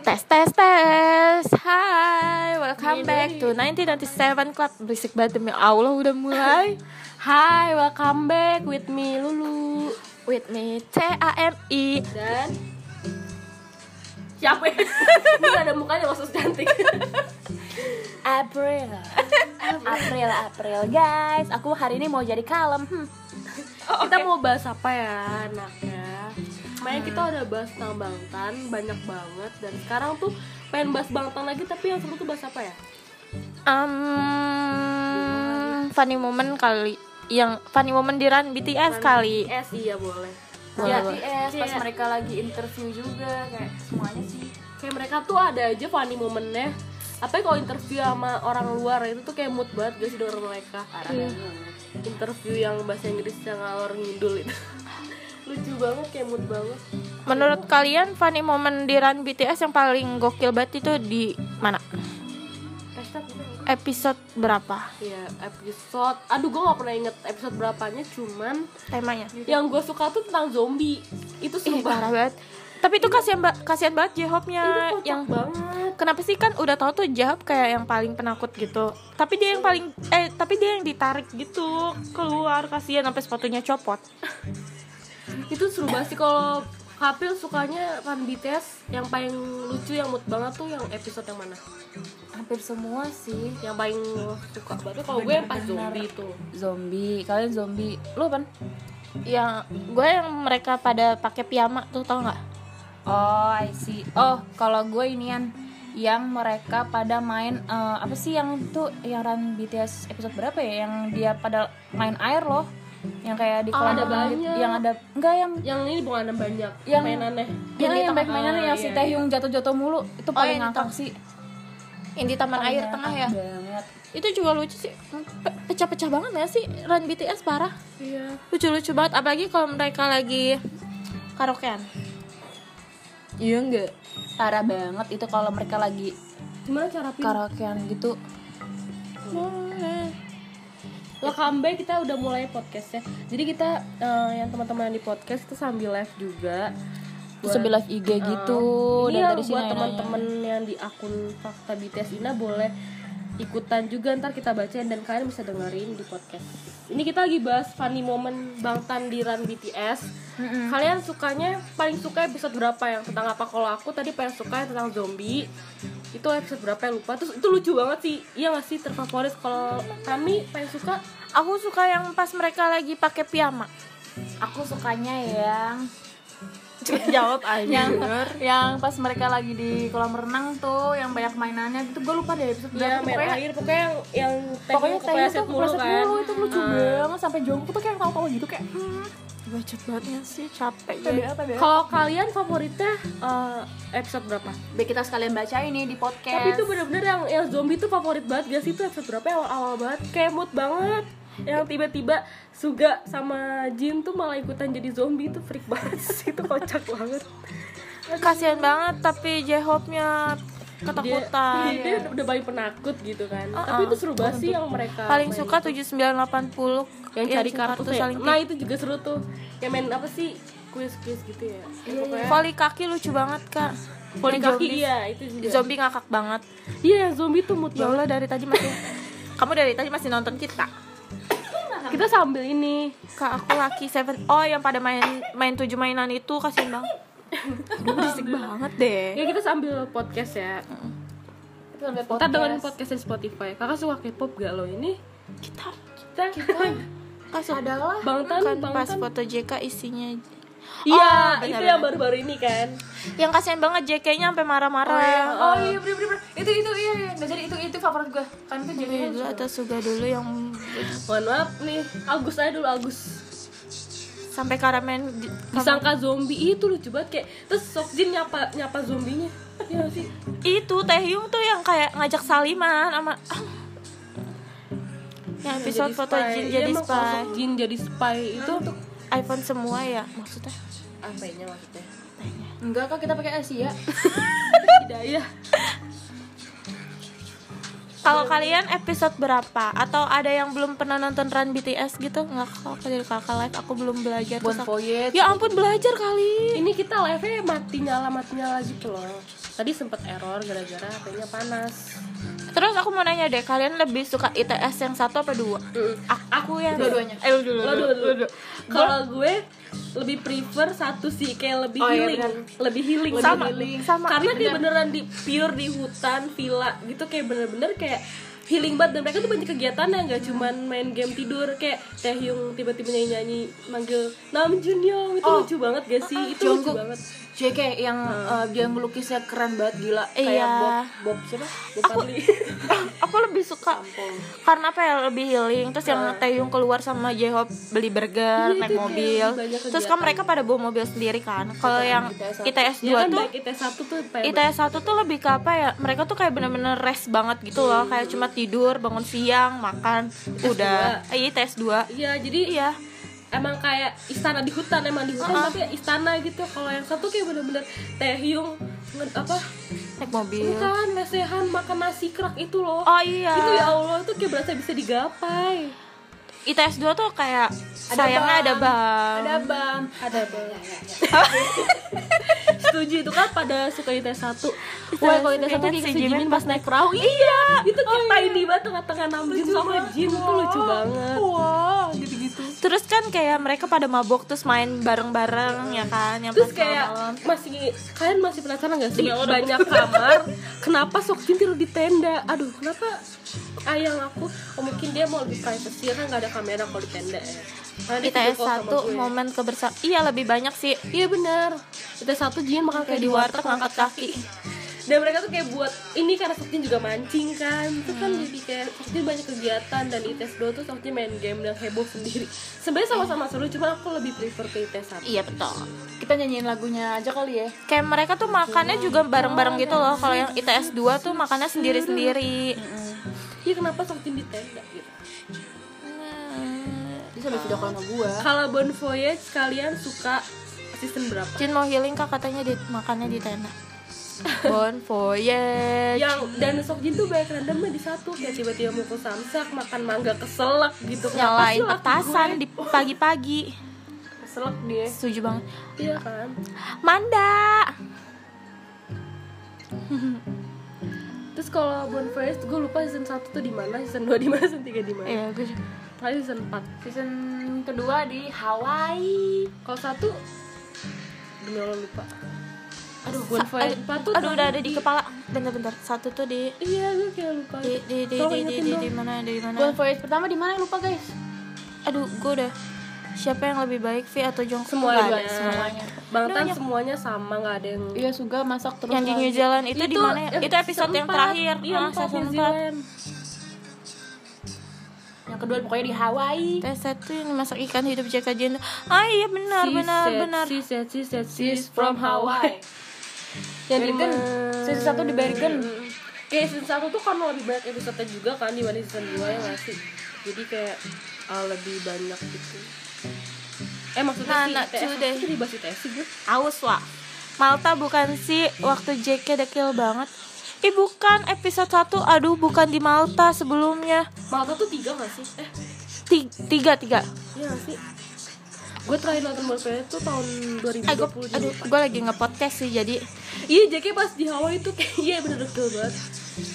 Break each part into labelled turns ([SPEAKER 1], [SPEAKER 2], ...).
[SPEAKER 1] Tes tes tes. Hai, welcome back to 1997 Club. Berisik banget demi Allah udah mulai.
[SPEAKER 2] Hai, welcome back with me Lulu
[SPEAKER 1] With me T A M I.
[SPEAKER 2] dan siapa? ya? Ini nggak ada mukanya maksud cantik. April. April, April, guys. Aku hari ini mau jadi kalem. Hmm. Kita mau bahas apa ya, anaknya? Main kita udah bahas tentang Bangtan banyak banget dan sekarang tuh pengen bahas Bangtan lagi tapi yang seru tuh bahas apa ya?
[SPEAKER 1] Um, funny moment kali yang funny moment di run BTS kali.
[SPEAKER 2] BTS iya boleh.
[SPEAKER 1] Boleh,
[SPEAKER 2] Iya,
[SPEAKER 1] boleh.
[SPEAKER 2] BTS pas
[SPEAKER 3] Iya.
[SPEAKER 2] mereka lagi interview juga kayak
[SPEAKER 3] semuanya sih
[SPEAKER 2] kayak mereka tuh ada aja funny momennya apa ya, kalau interview sama orang luar itu tuh kayak mood banget gak sih denger mereka Iya. interview yang bahasa Inggris yang ngalor ngidul itu lucu banget kayak mood banget
[SPEAKER 1] Menurut kalian funny moment di run BTS yang paling gokil banget itu di mana?
[SPEAKER 2] hashtag gitu ya.
[SPEAKER 1] Episode berapa
[SPEAKER 2] Iya, episode aduh gue gak pernah inget episode berapanya cuman
[SPEAKER 1] temanya?
[SPEAKER 2] yang gue suka tuh tentang zombie itu
[SPEAKER 1] Ih,
[SPEAKER 2] seru
[SPEAKER 1] parah
[SPEAKER 2] banget
[SPEAKER 1] banget. Tapi itu kasihan ba- kasihan banget J-Hope-nya
[SPEAKER 2] Eh, itu
[SPEAKER 1] yang
[SPEAKER 2] yang Iya, banget
[SPEAKER 1] Kenapa sih kan udah tahu tuh Jahab kayak yang paling penakut gitu. Tapi dia yang paling eh tapi dia yang ditarik gitu keluar kasihan sampai sepatunya copot.
[SPEAKER 2] itu seru banget sih kalau Kapil sukanya kan BTS yang paling lucu yang mood banget tuh yang episode yang mana
[SPEAKER 3] hampir semua sih
[SPEAKER 2] yang paling suka berarti kalau gue yang pas zombie itu
[SPEAKER 3] zombie kalian zombie lu kan
[SPEAKER 1] Yang Ya, gue yang mereka pada pakai piyama tuh tau nggak?
[SPEAKER 3] oh I see oh kalau gue inian yang mereka pada main eh, apa sih yang itu yang run BTS episode berapa ya yang dia pada main air loh yang kayak di
[SPEAKER 2] Oh,
[SPEAKER 3] kolam
[SPEAKER 2] ada
[SPEAKER 3] renang gitu.
[SPEAKER 2] banyak.
[SPEAKER 3] yang ada enggak yang
[SPEAKER 2] yang ini bukan ada banyak
[SPEAKER 3] Yang-
[SPEAKER 2] mainannya
[SPEAKER 3] yang,
[SPEAKER 2] di
[SPEAKER 3] yang
[SPEAKER 2] tengah-
[SPEAKER 3] baik mainan yang
[SPEAKER 2] iya,
[SPEAKER 3] si
[SPEAKER 2] iya.
[SPEAKER 3] Taehyung jatuh-jatuh mulu itu
[SPEAKER 1] Oh, yang
[SPEAKER 3] paling
[SPEAKER 1] di
[SPEAKER 3] ngakak
[SPEAKER 1] tengah.
[SPEAKER 3] sih
[SPEAKER 1] Yang di taman air tengah ya.
[SPEAKER 3] banget
[SPEAKER 1] Itu juga lucu sih. Pe- Pecah-pecah banget ya sih Run BTS parah.
[SPEAKER 2] iya
[SPEAKER 1] Lucu-lucu banget apalagi kalau mereka lagi karaokean.
[SPEAKER 3] iya enggak parah banget itu kalau mereka lagi
[SPEAKER 2] gimana cara pilih
[SPEAKER 3] karaokean gitu
[SPEAKER 2] welcome back kita udah mulai podcastnya jadi kita eh, yang teman-teman di podcast itu sambil live juga
[SPEAKER 3] Terus sambil live IG gitu
[SPEAKER 2] Ini
[SPEAKER 3] dan
[SPEAKER 2] yang
[SPEAKER 3] dari
[SPEAKER 2] Oh, Iya, buat
[SPEAKER 3] sini ya. nanya-nanya.
[SPEAKER 2] teman-teman yang di akun fakta BTS Ina boleh ikutan juga ntar kita bacain dan kalian bisa dengerin di podcast. Ini kita lagi bahas funny moment Bang Tandiran BTS. Kalian sukanya paling suka episode berapa yang tentang apa? Kalau aku tadi paling suka yang tentang zombie. Itu episode berapa yang lupa. Terus itu lucu banget sih. Iya gak sih terfavorit kalau kami paling suka
[SPEAKER 1] Aku suka yang pas mereka lagi pakai piyama.
[SPEAKER 3] aku sukanya yang
[SPEAKER 1] Jawab aja.
[SPEAKER 3] yang yang pas mereka lagi di kolam renang tuh yang banyak mainannya itu gue lupa deh episode
[SPEAKER 2] ya main
[SPEAKER 3] berapa pokoknya
[SPEAKER 2] air pokoknya yang yang teknik
[SPEAKER 3] pokoknya Taehyung
[SPEAKER 2] kepleset
[SPEAKER 3] tuh kepleset
[SPEAKER 2] kan.
[SPEAKER 3] mulu Nah. itu lucu
[SPEAKER 2] Ah.
[SPEAKER 3] banget sampai jongkok tuh kayak tahu-tahu gitu kayak hmm,
[SPEAKER 1] Bacot banget sih capek.
[SPEAKER 3] TBA TBA
[SPEAKER 2] Kalau kalian favoritnya eh, episode berapa?
[SPEAKER 3] biar kita sekalian baca ini di podcast
[SPEAKER 2] Tapi itu bener-bener yang, yang zombie tuh favorit banget gak sih? Itu episode berapa yang awal-awal banget Kayak mood banget Yang tiba-tiba Suga sama Jin tuh malah ikutan jadi zombie Itu freak banget sih Itu kocak banget
[SPEAKER 1] kasihan banget tapi J-Hope-nya
[SPEAKER 2] Dia,
[SPEAKER 1] ketakutan
[SPEAKER 2] Iya, dia udah paling penakut gitu kan Tapi itu seru banget sih yang mereka
[SPEAKER 1] Uh-uh. paling
[SPEAKER 2] main.
[SPEAKER 1] suka 7980
[SPEAKER 2] Yang
[SPEAKER 1] kartu ya?
[SPEAKER 2] cari kartu
[SPEAKER 1] saling
[SPEAKER 2] saling Nah itu juga seru tuh Yang main apa sih Kuis-kuis gitu ya Yang pokoknya
[SPEAKER 1] voli kaki lucu banget kak Iya,
[SPEAKER 2] Poli
[SPEAKER 1] Yang
[SPEAKER 2] kaki
[SPEAKER 1] zombie-
[SPEAKER 2] iya itu juga
[SPEAKER 1] zombie ngakak banget
[SPEAKER 2] Iya yang zombie tuh mood
[SPEAKER 1] ya
[SPEAKER 2] banget
[SPEAKER 1] Allah dari tadi masih kamu dari tadi masih nonton kita
[SPEAKER 2] Kita sambil ini
[SPEAKER 1] kak aku laki seven oh yang pada main main tujuh mainan itu kasihan banget Aduh, berisik banget deh
[SPEAKER 2] Ya kita sambil podcast ya
[SPEAKER 3] Itu sampai
[SPEAKER 2] Kita
[SPEAKER 3] podcast
[SPEAKER 2] dengerin podcast di Spotify. Kakak suka K-pop gak lo ini?
[SPEAKER 1] kita
[SPEAKER 2] Kita
[SPEAKER 1] kasih adalah
[SPEAKER 2] Bang Tan,
[SPEAKER 1] kan
[SPEAKER 2] Bang
[SPEAKER 1] pas
[SPEAKER 2] Tan.
[SPEAKER 1] foto JK isinya
[SPEAKER 2] Iya,
[SPEAKER 1] Oh, benar,
[SPEAKER 2] itu yang
[SPEAKER 1] benar.
[SPEAKER 2] baru-baru ini kan.
[SPEAKER 1] yang kasihan banget JK-nya sampai marah-marah
[SPEAKER 3] oh iya bener bener bener. itu itu iya iya Nah, jadi itu itu favorit gue kan itu jadi
[SPEAKER 1] Ini dulu atau Suga dulu yang
[SPEAKER 2] Mohon maaf nih, Agus aja dulu Agus.
[SPEAKER 1] sampai karamen di-
[SPEAKER 2] Disangka zombie itu lucu banget kayak terus Sokjin nyapa nyapa zombinya. Iya sih.
[SPEAKER 1] itu Taehyung tuh yang kayak ngajak saliman sama yang episode
[SPEAKER 2] Jadi
[SPEAKER 1] foto Jin
[SPEAKER 2] Iya,
[SPEAKER 1] jadi
[SPEAKER 2] emang kalau
[SPEAKER 1] spy
[SPEAKER 2] Jin jadi spy itu
[SPEAKER 1] iPhone semua ya maksudnya
[SPEAKER 2] Nah, apa nya maksudnya?
[SPEAKER 3] enggak kok kita pakai
[SPEAKER 2] iya.
[SPEAKER 3] Asia
[SPEAKER 2] Hidayah.
[SPEAKER 1] kalau kalian episode berapa atau ada yang belum pernah nonton Run BTS gitu nggak kok aku dari kakak live aku belum belajar
[SPEAKER 3] Bon
[SPEAKER 1] terus aku-
[SPEAKER 3] Voyage
[SPEAKER 1] ya ampun belajar kali
[SPEAKER 2] Ini kita live-nya mati nyala mati nyala gitu loh. Tadi sempet error gara-gara hpnya panas.
[SPEAKER 1] Terus aku mau nanya deh, kalian lebih suka ITS yang satu apa dua? Aku, yang
[SPEAKER 3] Dua-duanya.
[SPEAKER 1] Eh, lu dulu.
[SPEAKER 2] Lo
[SPEAKER 1] lu
[SPEAKER 2] dulu,
[SPEAKER 1] dulu.
[SPEAKER 2] dulu. Kalau gue lebih prefer satu sih kayak lebih
[SPEAKER 1] Oh, iya,
[SPEAKER 2] healing,
[SPEAKER 1] benar.
[SPEAKER 2] lebih healing
[SPEAKER 1] Lebih
[SPEAKER 2] sama
[SPEAKER 1] healing. Sama,
[SPEAKER 2] Karena
[SPEAKER 3] iya,
[SPEAKER 2] dia beneran di pure di hutan, villa gitu kayak bener-bener kayak healing banget dan mereka tuh banyak kegiatan ya nggak cuman main game tidur kayak Taehyung tiba-tiba nyanyi-nyanyi manggil Namjoon Young itu lucu banget gak sih itu lucu
[SPEAKER 3] Oh. Jungkook.
[SPEAKER 2] banget
[SPEAKER 3] JK yang eh, dia ngelukisnya keren banget gila
[SPEAKER 1] Iya.
[SPEAKER 3] kayak Bob Bob siapa?
[SPEAKER 2] Bob Marley.
[SPEAKER 1] aku lebih suka karena apa ya lebih healing terus yang Taeyong keluar sama J-Hope beli burger naik
[SPEAKER 2] Iya, itu kayak
[SPEAKER 1] mobil
[SPEAKER 2] banyak Iya.
[SPEAKER 1] terus kan mereka pada bawa mobil sendiri kan kalau yang ITS 2
[SPEAKER 2] ya kan
[SPEAKER 1] tuh
[SPEAKER 2] baik ITS satu tuh pengen
[SPEAKER 1] ITS 1 tuh lebih ke apa ya mereka tuh kayak bener-bener rest banget gitu loh kayak cuma tidur bangun siang makan udah iya ITS 2
[SPEAKER 2] Iya, jadi
[SPEAKER 1] iya
[SPEAKER 2] emang kayak istana di hutan emang di hutan tapi ya istana gitu kalau yang satu kayak bener-bener Taehyung nge- apa
[SPEAKER 1] naik mobil
[SPEAKER 2] bukan lesehan makan nasi kerak itu loh
[SPEAKER 1] oh iya
[SPEAKER 2] itu ya Allah itu kayak berasa bisa digapai
[SPEAKER 1] ITS 2 tuh kayak sayangnya ada bang
[SPEAKER 2] Hmm.
[SPEAKER 3] Ada Bang.
[SPEAKER 2] ada banget iya, setuju itu kan pada suka ITS satu
[SPEAKER 1] Wah,
[SPEAKER 2] Wah, kalau ITS satu
[SPEAKER 1] ingat
[SPEAKER 2] kayak
[SPEAKER 1] si
[SPEAKER 2] si Jimin
[SPEAKER 1] Jimin
[SPEAKER 2] pas naik perahu iya Oh. itu kayak tiny banget tengah-tengah Namjoon sama Jin itu lucu banget
[SPEAKER 3] Wah, gitu-gitu.
[SPEAKER 1] terus kan kayak mereka pada mabok terus main bareng-bareng ya kan yang
[SPEAKER 2] terus
[SPEAKER 1] pas
[SPEAKER 2] kayak
[SPEAKER 1] malam-malam.
[SPEAKER 2] masih kalian masih penasaran gak sih banyak kamar kenapa Sok Jin tidur di tenda aduh kenapa ayang aku oh mungkin dia mau lebih privacy kan gak ada kamera kalau di tenda ya Karena dia
[SPEAKER 1] ITS
[SPEAKER 2] tidur kok sama
[SPEAKER 1] 1
[SPEAKER 2] gue.
[SPEAKER 1] momen kebersamaan Iya lebih banyak sih
[SPEAKER 2] iya benar ITS satu Jin makan
[SPEAKER 1] Kayak di warteg ngangkat kaki
[SPEAKER 2] dan mereka tuh kayak buat ini karena Sok Jin juga mancing kan itu kan
[SPEAKER 1] Hmm.
[SPEAKER 2] jadi kayak Sok Jin banyak kegiatan dan di ITS 2 tuh Sok Jin main game dan heboh sendiri sebenarnya sama-sama seru cuma aku lebih prefer ke ITS 1
[SPEAKER 1] Iya betul
[SPEAKER 3] Kita nyanyiin lagunya aja kali ya.
[SPEAKER 1] Kayak mereka tuh makannya juga bareng-bareng gitu loh Kalau yang ITS 2 tuh makannya sendiri-sendiri
[SPEAKER 2] iya kenapa Sok Jin di tenda gitu
[SPEAKER 3] Dia sambil video call sama gua.
[SPEAKER 2] Kalau Bon Voyage kalian suka season berapa?
[SPEAKER 1] Jin mau healing kak katanya di, makannya di tenda Bon voyage
[SPEAKER 2] Yang dan Sok Jin tuh banyak randomnya di satu kayak tiba-tiba mukul samsak, makan mangga keselak gitu. Kenapa sih
[SPEAKER 1] Nyalain
[SPEAKER 2] laki
[SPEAKER 1] petasan di pagi-pagi
[SPEAKER 2] gue keselak dia.
[SPEAKER 1] Setuju banget
[SPEAKER 2] Iya kan?
[SPEAKER 1] Manda
[SPEAKER 2] Terus kalau Bon Voyage gue lupa season 1 tuh di mana, season 2 di mana, season 3 di mana.
[SPEAKER 1] Iya gue juga.
[SPEAKER 2] Paling season 4.
[SPEAKER 3] Season kedua di Hawaii.
[SPEAKER 2] Kalau satu demi Allah lupa. Aduh,
[SPEAKER 1] Sa-
[SPEAKER 2] Bon Voyage
[SPEAKER 1] aduh,
[SPEAKER 2] 4 tuh
[SPEAKER 1] Aduh udah ada di kepala Bentar-bentar Satu tuh di
[SPEAKER 2] Iya, gue kayak lupa.
[SPEAKER 1] di di di
[SPEAKER 2] Tolong
[SPEAKER 1] di di,
[SPEAKER 2] ingetin
[SPEAKER 1] di,
[SPEAKER 2] dong.
[SPEAKER 1] di mana di mana
[SPEAKER 3] Bon Voyage pertama di mana lupa guys?
[SPEAKER 1] aduh gue udah siapa yang lebih baik V atau Jongkook
[SPEAKER 2] Semuanya.
[SPEAKER 1] Nggak ada, semuanya
[SPEAKER 2] Bang Tan semuanya sama, nggak ada yang
[SPEAKER 3] Iya, Suga masak terus.
[SPEAKER 1] yang di New
[SPEAKER 3] lagi.
[SPEAKER 1] Zealand itu, di mana ya?
[SPEAKER 2] eh,
[SPEAKER 1] itu episode yang
[SPEAKER 2] seempat.
[SPEAKER 1] terakhir
[SPEAKER 2] iya,
[SPEAKER 1] Ah,
[SPEAKER 2] empat,
[SPEAKER 1] season
[SPEAKER 2] New
[SPEAKER 1] empat.
[SPEAKER 2] Zealand.
[SPEAKER 3] Yang kedua pokoknya di Hawaii.
[SPEAKER 1] Tes satu yang masak ikan hidup jaga janda ah iya benar
[SPEAKER 2] She
[SPEAKER 1] benar
[SPEAKER 2] said,
[SPEAKER 1] benar
[SPEAKER 2] She said, she said, she's from Hawaii.
[SPEAKER 3] Yang Bergen. Season satu di Bergen.
[SPEAKER 2] Kayak season satu tuh karena lebih banyak episode juga kan dibanding season 2 ya nggak sih? Jadi kayak uh, lebih banyak gitu. Eh maksudnya
[SPEAKER 1] Nah,
[SPEAKER 2] sih,
[SPEAKER 1] nah,
[SPEAKER 2] TS,
[SPEAKER 1] today.
[SPEAKER 2] itu dibahas di TS sih gue.
[SPEAKER 1] aus lah Malta bukan sih waktu JK dekil banget Ih bukan episode 1 Aduh bukan di Malta sebelumnya
[SPEAKER 2] Malta tuh tiga nggak sih? Eh,
[SPEAKER 1] Ti- Tiga, tiga
[SPEAKER 2] iya nggak sih? Gue terakhir nonton Malta tuh tahun
[SPEAKER 1] Eh gue
[SPEAKER 2] 2020 juga.
[SPEAKER 1] gue lagi nge-podcast sih jadi
[SPEAKER 2] Iya, jadi pas di Hawaii tuh kayak iya bener betul banget.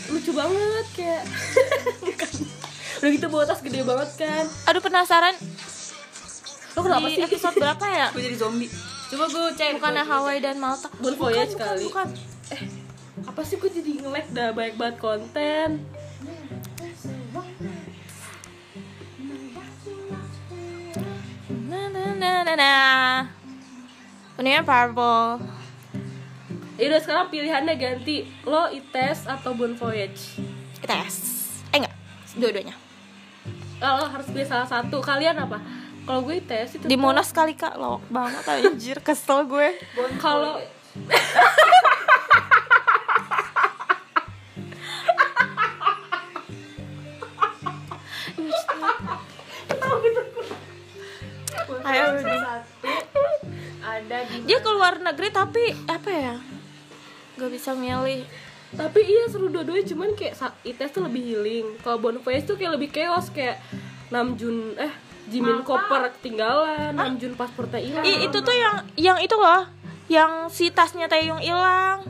[SPEAKER 2] Lucu banget kayak. Bukan. Udah gitu bawa tas gede banget kan.
[SPEAKER 1] Aduh penasaran
[SPEAKER 2] Lo kenapa
[SPEAKER 1] di
[SPEAKER 2] sih?
[SPEAKER 1] episode berapa ya?
[SPEAKER 3] Gue jadi zombie.
[SPEAKER 2] Coba gue cek.
[SPEAKER 1] Bukannya ya, Hawaii dan Malta
[SPEAKER 2] Bon
[SPEAKER 1] Bukan,
[SPEAKER 2] Voyage
[SPEAKER 1] bukan,
[SPEAKER 2] kali.
[SPEAKER 1] bukan.
[SPEAKER 2] Apa sih gue jadi nge-lag dah banyak banget konten.
[SPEAKER 1] Na na na na na. Uninya purple.
[SPEAKER 2] Ya udah sekarang pilihannya ganti lo ITS atau Bon Voyage.
[SPEAKER 1] ITS. Eh enggak, dua-duanya.
[SPEAKER 2] Kalau Eh, harus pilih salah satu, kalian apa? Kalau gue ITS E itu
[SPEAKER 1] Di Monas kali Kak lo banget anjir kesel gue.
[SPEAKER 2] kalau
[SPEAKER 1] Ayo. udah.
[SPEAKER 3] Ada di
[SPEAKER 1] Dia keluar negeri tapi apa ya? Gak bisa milih.
[SPEAKER 2] tapi iya seru dua-duanya cuman kayak sa- ITS tuh lebih healing. Kalau Bon Voyage tuh kayak lebih chaos kayak Namjoon eh Jimin koper ketinggalan, Namjoon pasportnya hilang.
[SPEAKER 1] Ih, itu tuh yang yang itu loh, yang si tasnya Taeyong hilang.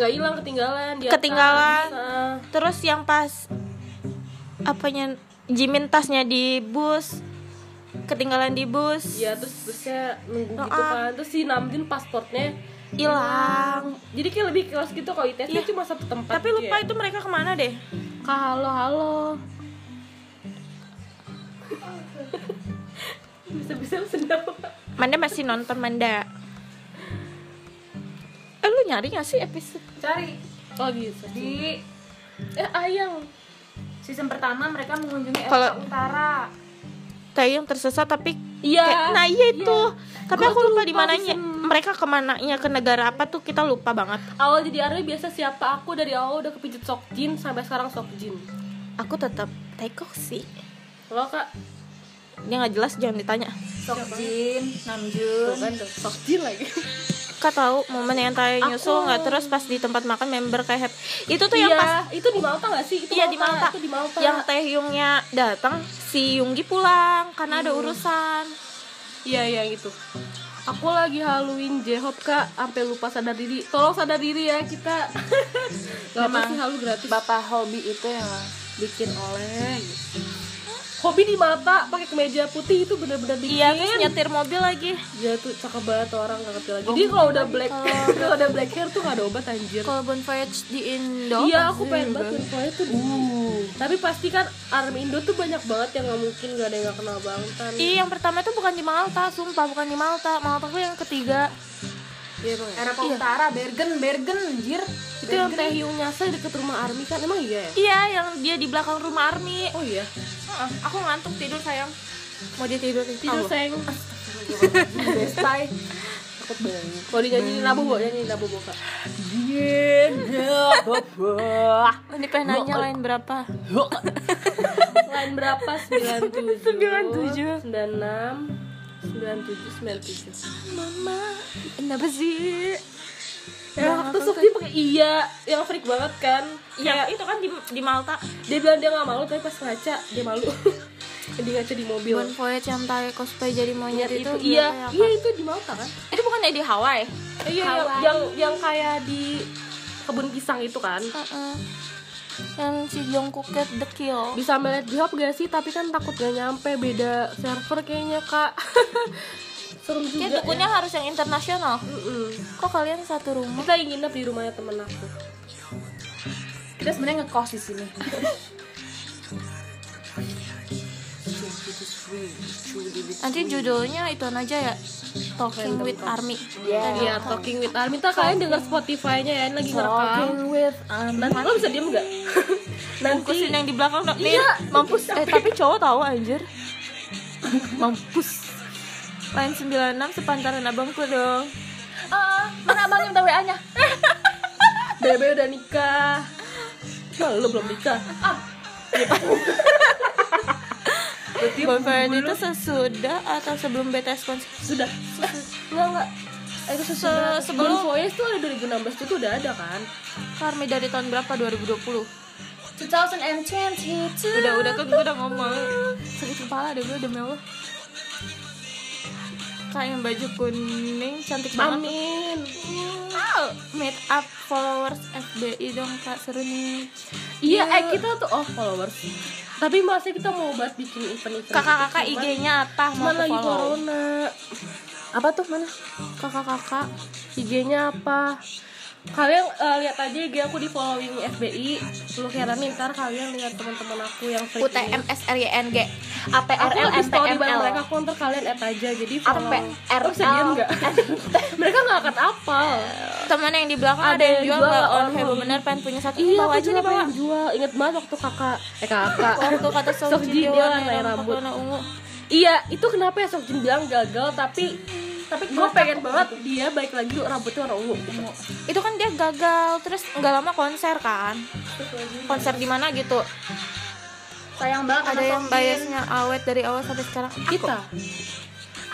[SPEAKER 2] nggak hilang ketinggalan di atas.
[SPEAKER 1] Ketinggalan.
[SPEAKER 2] Nah,
[SPEAKER 1] Terus yang pas apanya Jimin tasnya di bus ketinggalan di bus
[SPEAKER 2] Iya terus terusnya nunggu gitu
[SPEAKER 1] Ah.
[SPEAKER 2] kan terus si Namjoon pasportnya
[SPEAKER 1] hilang.
[SPEAKER 2] jadi kayak lebih kelas gitu kalau ITS dia
[SPEAKER 1] Iya.
[SPEAKER 2] cuma satu tempat
[SPEAKER 1] Tapi
[SPEAKER 2] gitu
[SPEAKER 1] lupa
[SPEAKER 2] ya.
[SPEAKER 1] itu mereka kemana deh?
[SPEAKER 2] Kak halo halo bisa-bisa sedap
[SPEAKER 1] Manda masih nonton Manda. Eh lu nyari gak sih episode?
[SPEAKER 3] Cari
[SPEAKER 2] oh gitu
[SPEAKER 3] di
[SPEAKER 2] eh ayang
[SPEAKER 3] season pertama mereka mengunjungi Eropa
[SPEAKER 1] Kalau-
[SPEAKER 3] Utara.
[SPEAKER 1] Kayak yang tersesat tapi
[SPEAKER 2] iya
[SPEAKER 1] kayak- nah iya itu. Tapi
[SPEAKER 2] Gua
[SPEAKER 1] aku
[SPEAKER 2] tuh
[SPEAKER 1] lupa
[SPEAKER 2] lupa
[SPEAKER 1] di mananya.
[SPEAKER 2] season-
[SPEAKER 1] Mereka kemananya ke negara apa tuh kita lupa banget.
[SPEAKER 2] awal jadi Army biasa siapa aku dari awal udah kepijit Sokjin sampai sekarang Sokjin
[SPEAKER 1] Aku tetap Taekwondo sih.
[SPEAKER 2] lo kak
[SPEAKER 1] Dia nggak jelas jangan ditanya.
[SPEAKER 3] Sokjin, Namjoon.
[SPEAKER 2] bukan tuh Sokjin lagi
[SPEAKER 1] Kak tahu momen yang Tae nyusul
[SPEAKER 2] Aku-
[SPEAKER 1] nggak terus pas di tempat makan member kayak happy. Itu tuh yang
[SPEAKER 2] Iya,
[SPEAKER 1] pas
[SPEAKER 2] itu di Malta gak sih itu
[SPEAKER 1] Iya di Malta.
[SPEAKER 2] itu di Malta
[SPEAKER 1] Yang Taehyungnya datang, si Yunggi pulang karena ada urusan.
[SPEAKER 2] Iya iya gitu. Aku lagi haluin J-Hope kak, sampai lupa sadar diri. Tolong sadar diri ya kita. Gak apa
[SPEAKER 3] Memang.
[SPEAKER 2] sih halu gratis.
[SPEAKER 3] Bapak hobi itu ya, yang
[SPEAKER 2] Bikin oleng. Hobi di mata pakai kemeja putih itu bener-bener bikin.
[SPEAKER 1] Iya, terus nyetir mobil lagi.
[SPEAKER 2] Jatuh cakep banget tuh orang gak ngerti lagi. Jadi kalau udah black, kalau udah black hair tuh gak ada obat anjir.
[SPEAKER 3] kalau Bon Voyage di Indo.
[SPEAKER 2] Iya, aku pengen banget infonya tuh. Tapi pasti kan Army Indo tuh banyak banget yang nggak mungkin gak ada yang gak kenal Bangtan.
[SPEAKER 1] Iya, yang pertama itu bukan di Malta, sumpah bukan di Malta. Malta tuh yang ketiga.
[SPEAKER 2] Iya, Bang, ya?
[SPEAKER 3] Eropa Utara, Bergen, Bergen, anjir.
[SPEAKER 2] Itu yang Taehyung nyasar deket rumah Army kan, emang iya ya?
[SPEAKER 1] Iya, yang dia di belakang rumah Army.
[SPEAKER 2] Oh iya.
[SPEAKER 1] Heeh, aku ngantuk tidur sayang. Mau dia tidur
[SPEAKER 2] Tidur
[SPEAKER 1] Allah.
[SPEAKER 2] sayang.
[SPEAKER 3] Bestai.
[SPEAKER 2] Takut banget. Kalau dinyanyiin labu bo, nyanyiin labu bo kak.
[SPEAKER 3] Iya.
[SPEAKER 1] Ini pengen nanya lain berapa?
[SPEAKER 2] Lain berapa?
[SPEAKER 1] 97.
[SPEAKER 2] 97 96 97 97
[SPEAKER 1] Mama, kenapa sih?
[SPEAKER 2] Ya, aku Sofi pakai iya Yang freak banget kan
[SPEAKER 1] Yang
[SPEAKER 2] Kayak
[SPEAKER 1] itu kan di, di Malta.
[SPEAKER 2] Dia bilang dia gak malu Tapi pas ngaca Dia malu Dia ngaca di mobil
[SPEAKER 3] Bon Voyage yang tarik cosplay jadi monyet itu.
[SPEAKER 2] Iya Iya itu di Malta kan
[SPEAKER 1] Itu bukan ya di Hawaii.
[SPEAKER 2] Eh, Iya yang,
[SPEAKER 3] Hawaii.
[SPEAKER 2] yang, yang kayak di Kebun pisang itu kan
[SPEAKER 3] Heeh. Yang si Jungkook get the kill.
[SPEAKER 2] bisa melihat jawab gak sih tapi kan takut gak nyampe beda server kayaknya kak serem juga
[SPEAKER 1] Kayak dukunnya harus yang internasional.
[SPEAKER 2] Mm-mm.
[SPEAKER 3] Kok kalian satu rumah?
[SPEAKER 2] kita ingin nginep di rumahnya temen aku
[SPEAKER 3] Kita sebenarnya ngekos di sini. Nanti judulnya itu aja ya. Talking with Army.
[SPEAKER 2] Iya, Talking with Arminta kalian denger Spotify-nya ya, ini lagi ngerekam.
[SPEAKER 3] with Army.
[SPEAKER 2] Nanti lo bisa diem gak? Nanti
[SPEAKER 1] Bungkusin yang di belakang dong. Nih,
[SPEAKER 2] Iya.
[SPEAKER 1] mampus. Eh, tapi cowok tahu anjir. mampus. Lain 96 sepantaran abangku dong.
[SPEAKER 3] mana abangnya minta WA-nya?
[SPEAKER 2] Bebe udah nikah. Nah, lo belum nikah.
[SPEAKER 1] Bonfire itu sesudah atau sebelum BTS konser?
[SPEAKER 2] Sudah.
[SPEAKER 3] Enggak, enggak.
[SPEAKER 1] Eh, sesudah
[SPEAKER 2] Sebelum
[SPEAKER 1] sebelum
[SPEAKER 2] Voice tuh ada 2016 itu udah ada kan?
[SPEAKER 1] Karmi dari tahun berapa? 2020.
[SPEAKER 3] 2022.
[SPEAKER 1] Udah udah kan gue udah ngomong. Sakit kepala deh gue demi Allah. Kak yang baju kuning cantik banget.
[SPEAKER 2] Amin.
[SPEAKER 1] Wow, meet up followers FBI dong kak seru nih.
[SPEAKER 2] Iya, eh kita tuh oh followers. Tapi masih kita mau buat bikin event event.
[SPEAKER 1] Kakak-kakak IG-nya apa? Mau
[SPEAKER 2] Cuman
[SPEAKER 1] aku
[SPEAKER 2] lagi
[SPEAKER 1] follow?
[SPEAKER 2] corona. Apa tuh mana?
[SPEAKER 1] Kakak-kakak
[SPEAKER 2] IG-nya apa? Kalian eh, lihat aja IG aku di following FBI. Lu kira nih ntar kalian lihat teman-teman aku yang freak ini.
[SPEAKER 3] UTMSRYNG
[SPEAKER 2] Aku
[SPEAKER 3] APRL
[SPEAKER 2] lagi story bareng
[SPEAKER 3] MTML.
[SPEAKER 2] mereka, aku ntar kalian add aja Jadi
[SPEAKER 3] Apa,
[SPEAKER 2] follow
[SPEAKER 3] RL?
[SPEAKER 2] Lu bisa diem nggak? Mereka gak akan apal
[SPEAKER 1] temen yang di belakang ada, yang jual nggak on heboh bener pengen punya satu
[SPEAKER 2] Iya,
[SPEAKER 1] bawa
[SPEAKER 2] aku
[SPEAKER 1] aja
[SPEAKER 2] juga
[SPEAKER 1] nih bawa
[SPEAKER 2] pengen jual Ingat banget waktu kakak Eh kakak
[SPEAKER 1] waktu kata
[SPEAKER 2] Sokji
[SPEAKER 1] Sokji
[SPEAKER 2] dia
[SPEAKER 1] dia
[SPEAKER 2] warnai rambut.
[SPEAKER 1] warna ungu
[SPEAKER 2] Iya, itu kenapa ya Sokjin bilang gagal Tapi tapi gue pengen banget dia balik lagi rambutnya warna ungu
[SPEAKER 1] itu kan dia gagal terus nggak lama konser kan konser di mana gitu
[SPEAKER 3] Sayang banget
[SPEAKER 1] ada yang biasnya awet dari awal sampai sekarang
[SPEAKER 2] kita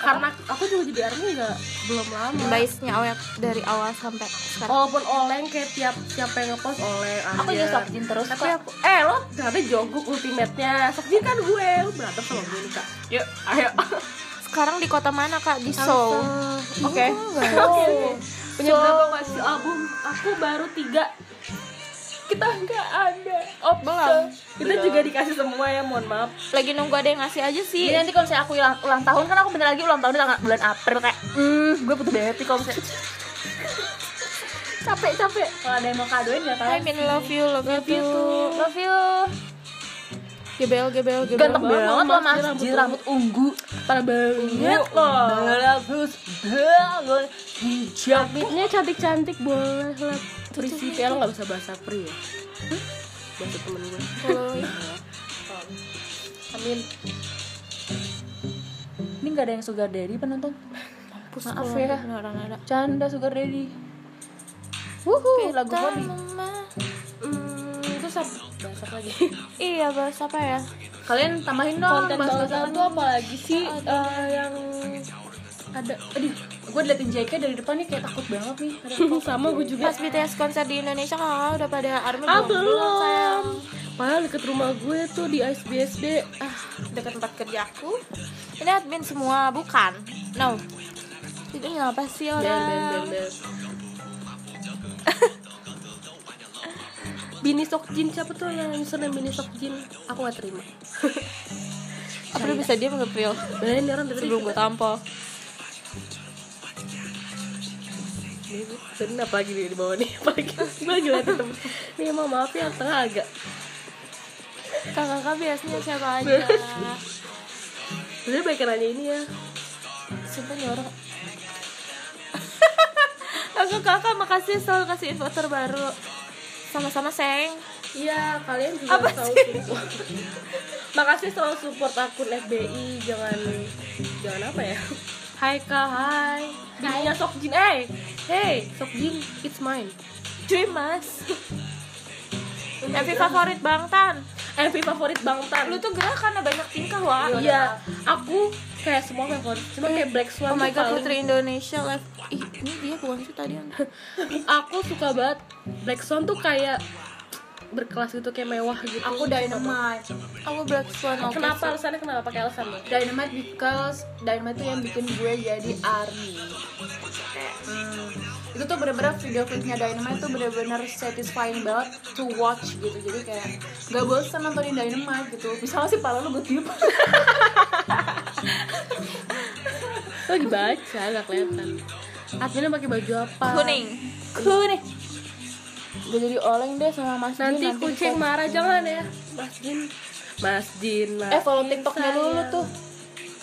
[SPEAKER 2] karena aku juga jadi army nggak belum lama
[SPEAKER 1] biasnya awet dari awal sampai sekarang
[SPEAKER 2] walaupun oleng kayak tiap siapa yang ngepost oleng aja.
[SPEAKER 3] Aku juga Sokjin terus
[SPEAKER 2] tapi
[SPEAKER 3] kok.
[SPEAKER 2] aku eh lo ternyata joguk ultimate nya Sokjin kan gue lo berantem sama gue nih kak yuk ayo
[SPEAKER 1] sekarang di kota mana kak di Seoul
[SPEAKER 2] oke
[SPEAKER 1] Enggak.
[SPEAKER 2] oke punya berapa mas album aku baru tiga kita nggak ada
[SPEAKER 1] Oh belum.
[SPEAKER 2] kita juga dikasih semua ya mohon maaf
[SPEAKER 1] Lagi nunggu ada yang ngasih aja sih.
[SPEAKER 2] Iya,
[SPEAKER 3] Jadi Iya, nanti kalau misalnya aku ulang, ulang tahun kan aku bentar lagi ulang tahun tanggal bulan April kayak hmm gue butuh beti kalau misalnya capek capek
[SPEAKER 2] kalau ada yang mau kadoin
[SPEAKER 3] ya,
[SPEAKER 2] nggak
[SPEAKER 1] I mean love you, love, you
[SPEAKER 3] Gitu.
[SPEAKER 1] too.
[SPEAKER 3] love you
[SPEAKER 1] Gebel, gebel, gebel.
[SPEAKER 3] ganteng
[SPEAKER 2] banget,
[SPEAKER 3] banget loh mas
[SPEAKER 2] Mas.
[SPEAKER 3] Jir, rambut ungu
[SPEAKER 2] para banget loh
[SPEAKER 3] bagus banget hijab
[SPEAKER 2] Ini cantik-cantik boleh lah Prisi tapi lo gak bisa bahasa pri ya Bahasa temen gue Amin
[SPEAKER 3] ini nggak ada yang sugar daddy penonton
[SPEAKER 1] Maaf ya, orang ada.
[SPEAKER 3] canda sugar daddy Wuhu, lagu Bobby.
[SPEAKER 2] Hmm, terus apa? Bahasa lagi
[SPEAKER 1] Iya, bahas apa ya?
[SPEAKER 3] Kalian tambahin dong
[SPEAKER 2] Konten
[SPEAKER 3] mas
[SPEAKER 2] bahasa itu apa lagi sih eh, yang
[SPEAKER 3] ada. Aduh, gue diliatin JK dari depan nih kayak takut banget nih. Ada-
[SPEAKER 2] sama gue juga
[SPEAKER 1] Pas BTS konser di Indonesia kakak udah pada Armin
[SPEAKER 2] Ah
[SPEAKER 1] belum? Belum, sayang.
[SPEAKER 2] belum Padahal deket rumah gue tuh di ISBSD Ah
[SPEAKER 1] Dekat tempat kerjaku. Ini admin semua, bukan? No. Itu ngapa sih
[SPEAKER 2] ben, ben, ben,
[SPEAKER 1] orang?
[SPEAKER 2] ben. Bini Sokjin siapa tuh yang username Bini Sokjin? Aku gak terima.
[SPEAKER 1] April bisa dia ngepril
[SPEAKER 2] Beneran ini orang dari
[SPEAKER 1] sebelum gue tampol.
[SPEAKER 2] Dan apa lagi nih di bawah nih? Apa lagi? Gue lagi liatin temen Nih emang maaf ya, tengah agak
[SPEAKER 1] Kakak-kakak biasanya siapa aja?
[SPEAKER 2] Sebenernya baik nanya ini ya
[SPEAKER 1] Sumpah nih orang Aku kakak makasih selalu kasih info terbaru Sama-sama Seng
[SPEAKER 2] Iya, kalian juga
[SPEAKER 1] Apa
[SPEAKER 2] selalu
[SPEAKER 1] sih?
[SPEAKER 2] support Makasih selalu support akun FBI Jangan, jangan apa ya Hai kak, hai Bininya Sokjin, eh Hey, Sokjin, it's mine
[SPEAKER 1] Cuy mas MV favorit Bang Tan
[SPEAKER 2] MV favorit Bang Tan
[SPEAKER 1] Lu tuh gerak karena banyak tingkah wah
[SPEAKER 2] Iya, aku kayak semua favorit Cuma kayak Black
[SPEAKER 1] Oh
[SPEAKER 2] Swan
[SPEAKER 1] my
[SPEAKER 2] tuh
[SPEAKER 1] god
[SPEAKER 2] paling-
[SPEAKER 1] Putri Indonesia live Ih ini dia bukan sih tadi yang-
[SPEAKER 2] aku suka banget Black Swan tuh kayak berkelas gitu kayak mewah gitu.
[SPEAKER 3] Aku dynamite.
[SPEAKER 1] Aku Black Swan oke
[SPEAKER 2] Kenapa alasannya kenapa pakai alasan lo?
[SPEAKER 3] Dynamite because Dynamite tuh yang bikin gue jadi ARMY Hmm, itu tuh bener-bener video klipnya Dynamite tuh bener-bener satisfying banget to watch gitu jadi kayak gak bosan nontonin Dynamite gitu misalnya sih pala lu gue tiup
[SPEAKER 2] Lo dibaca gak kelihatan. Adminnya pakai baju apa?
[SPEAKER 1] Kuning
[SPEAKER 3] kuning gue jadi oleng deh sama Mas Jin,
[SPEAKER 2] Nanti kucing marah jangan ya. Mas Jin. Mas Jin. Mas
[SPEAKER 3] gitu. eh follow tiktoknya dulu tuh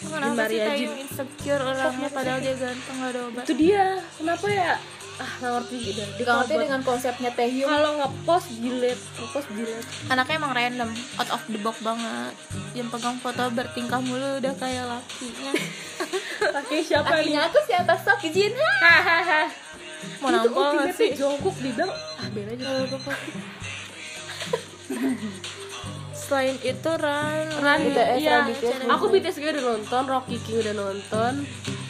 [SPEAKER 1] Kenapa sih
[SPEAKER 2] Maria
[SPEAKER 1] Taeyong insecure orangnya Padahal dia ganteng gak ada obat
[SPEAKER 2] Itu dia. Kenapa ya? Ah, gak ngerti gitu.
[SPEAKER 3] dikangetin dengan konsepnya Taehyung
[SPEAKER 2] kalau ngepost delete, ngepost delete.
[SPEAKER 1] Anaknya emang random Out of the box banget Yang pegang foto bertingkah mulu Udah kayak lakinya
[SPEAKER 2] Pakai siapa nih?
[SPEAKER 3] akhirnya aku siapa sok Jin
[SPEAKER 2] Hahaha.
[SPEAKER 1] Mau
[SPEAKER 2] itu
[SPEAKER 1] nampol gak
[SPEAKER 2] ultimate
[SPEAKER 1] sih?
[SPEAKER 2] jongkok dibilang ah beda aja kalau gue pakai.
[SPEAKER 1] Selain itu Ran,
[SPEAKER 3] BTS,
[SPEAKER 2] iya.
[SPEAKER 3] Run BTS.
[SPEAKER 2] Aku BTS gue udah nonton, Rocky King udah nonton.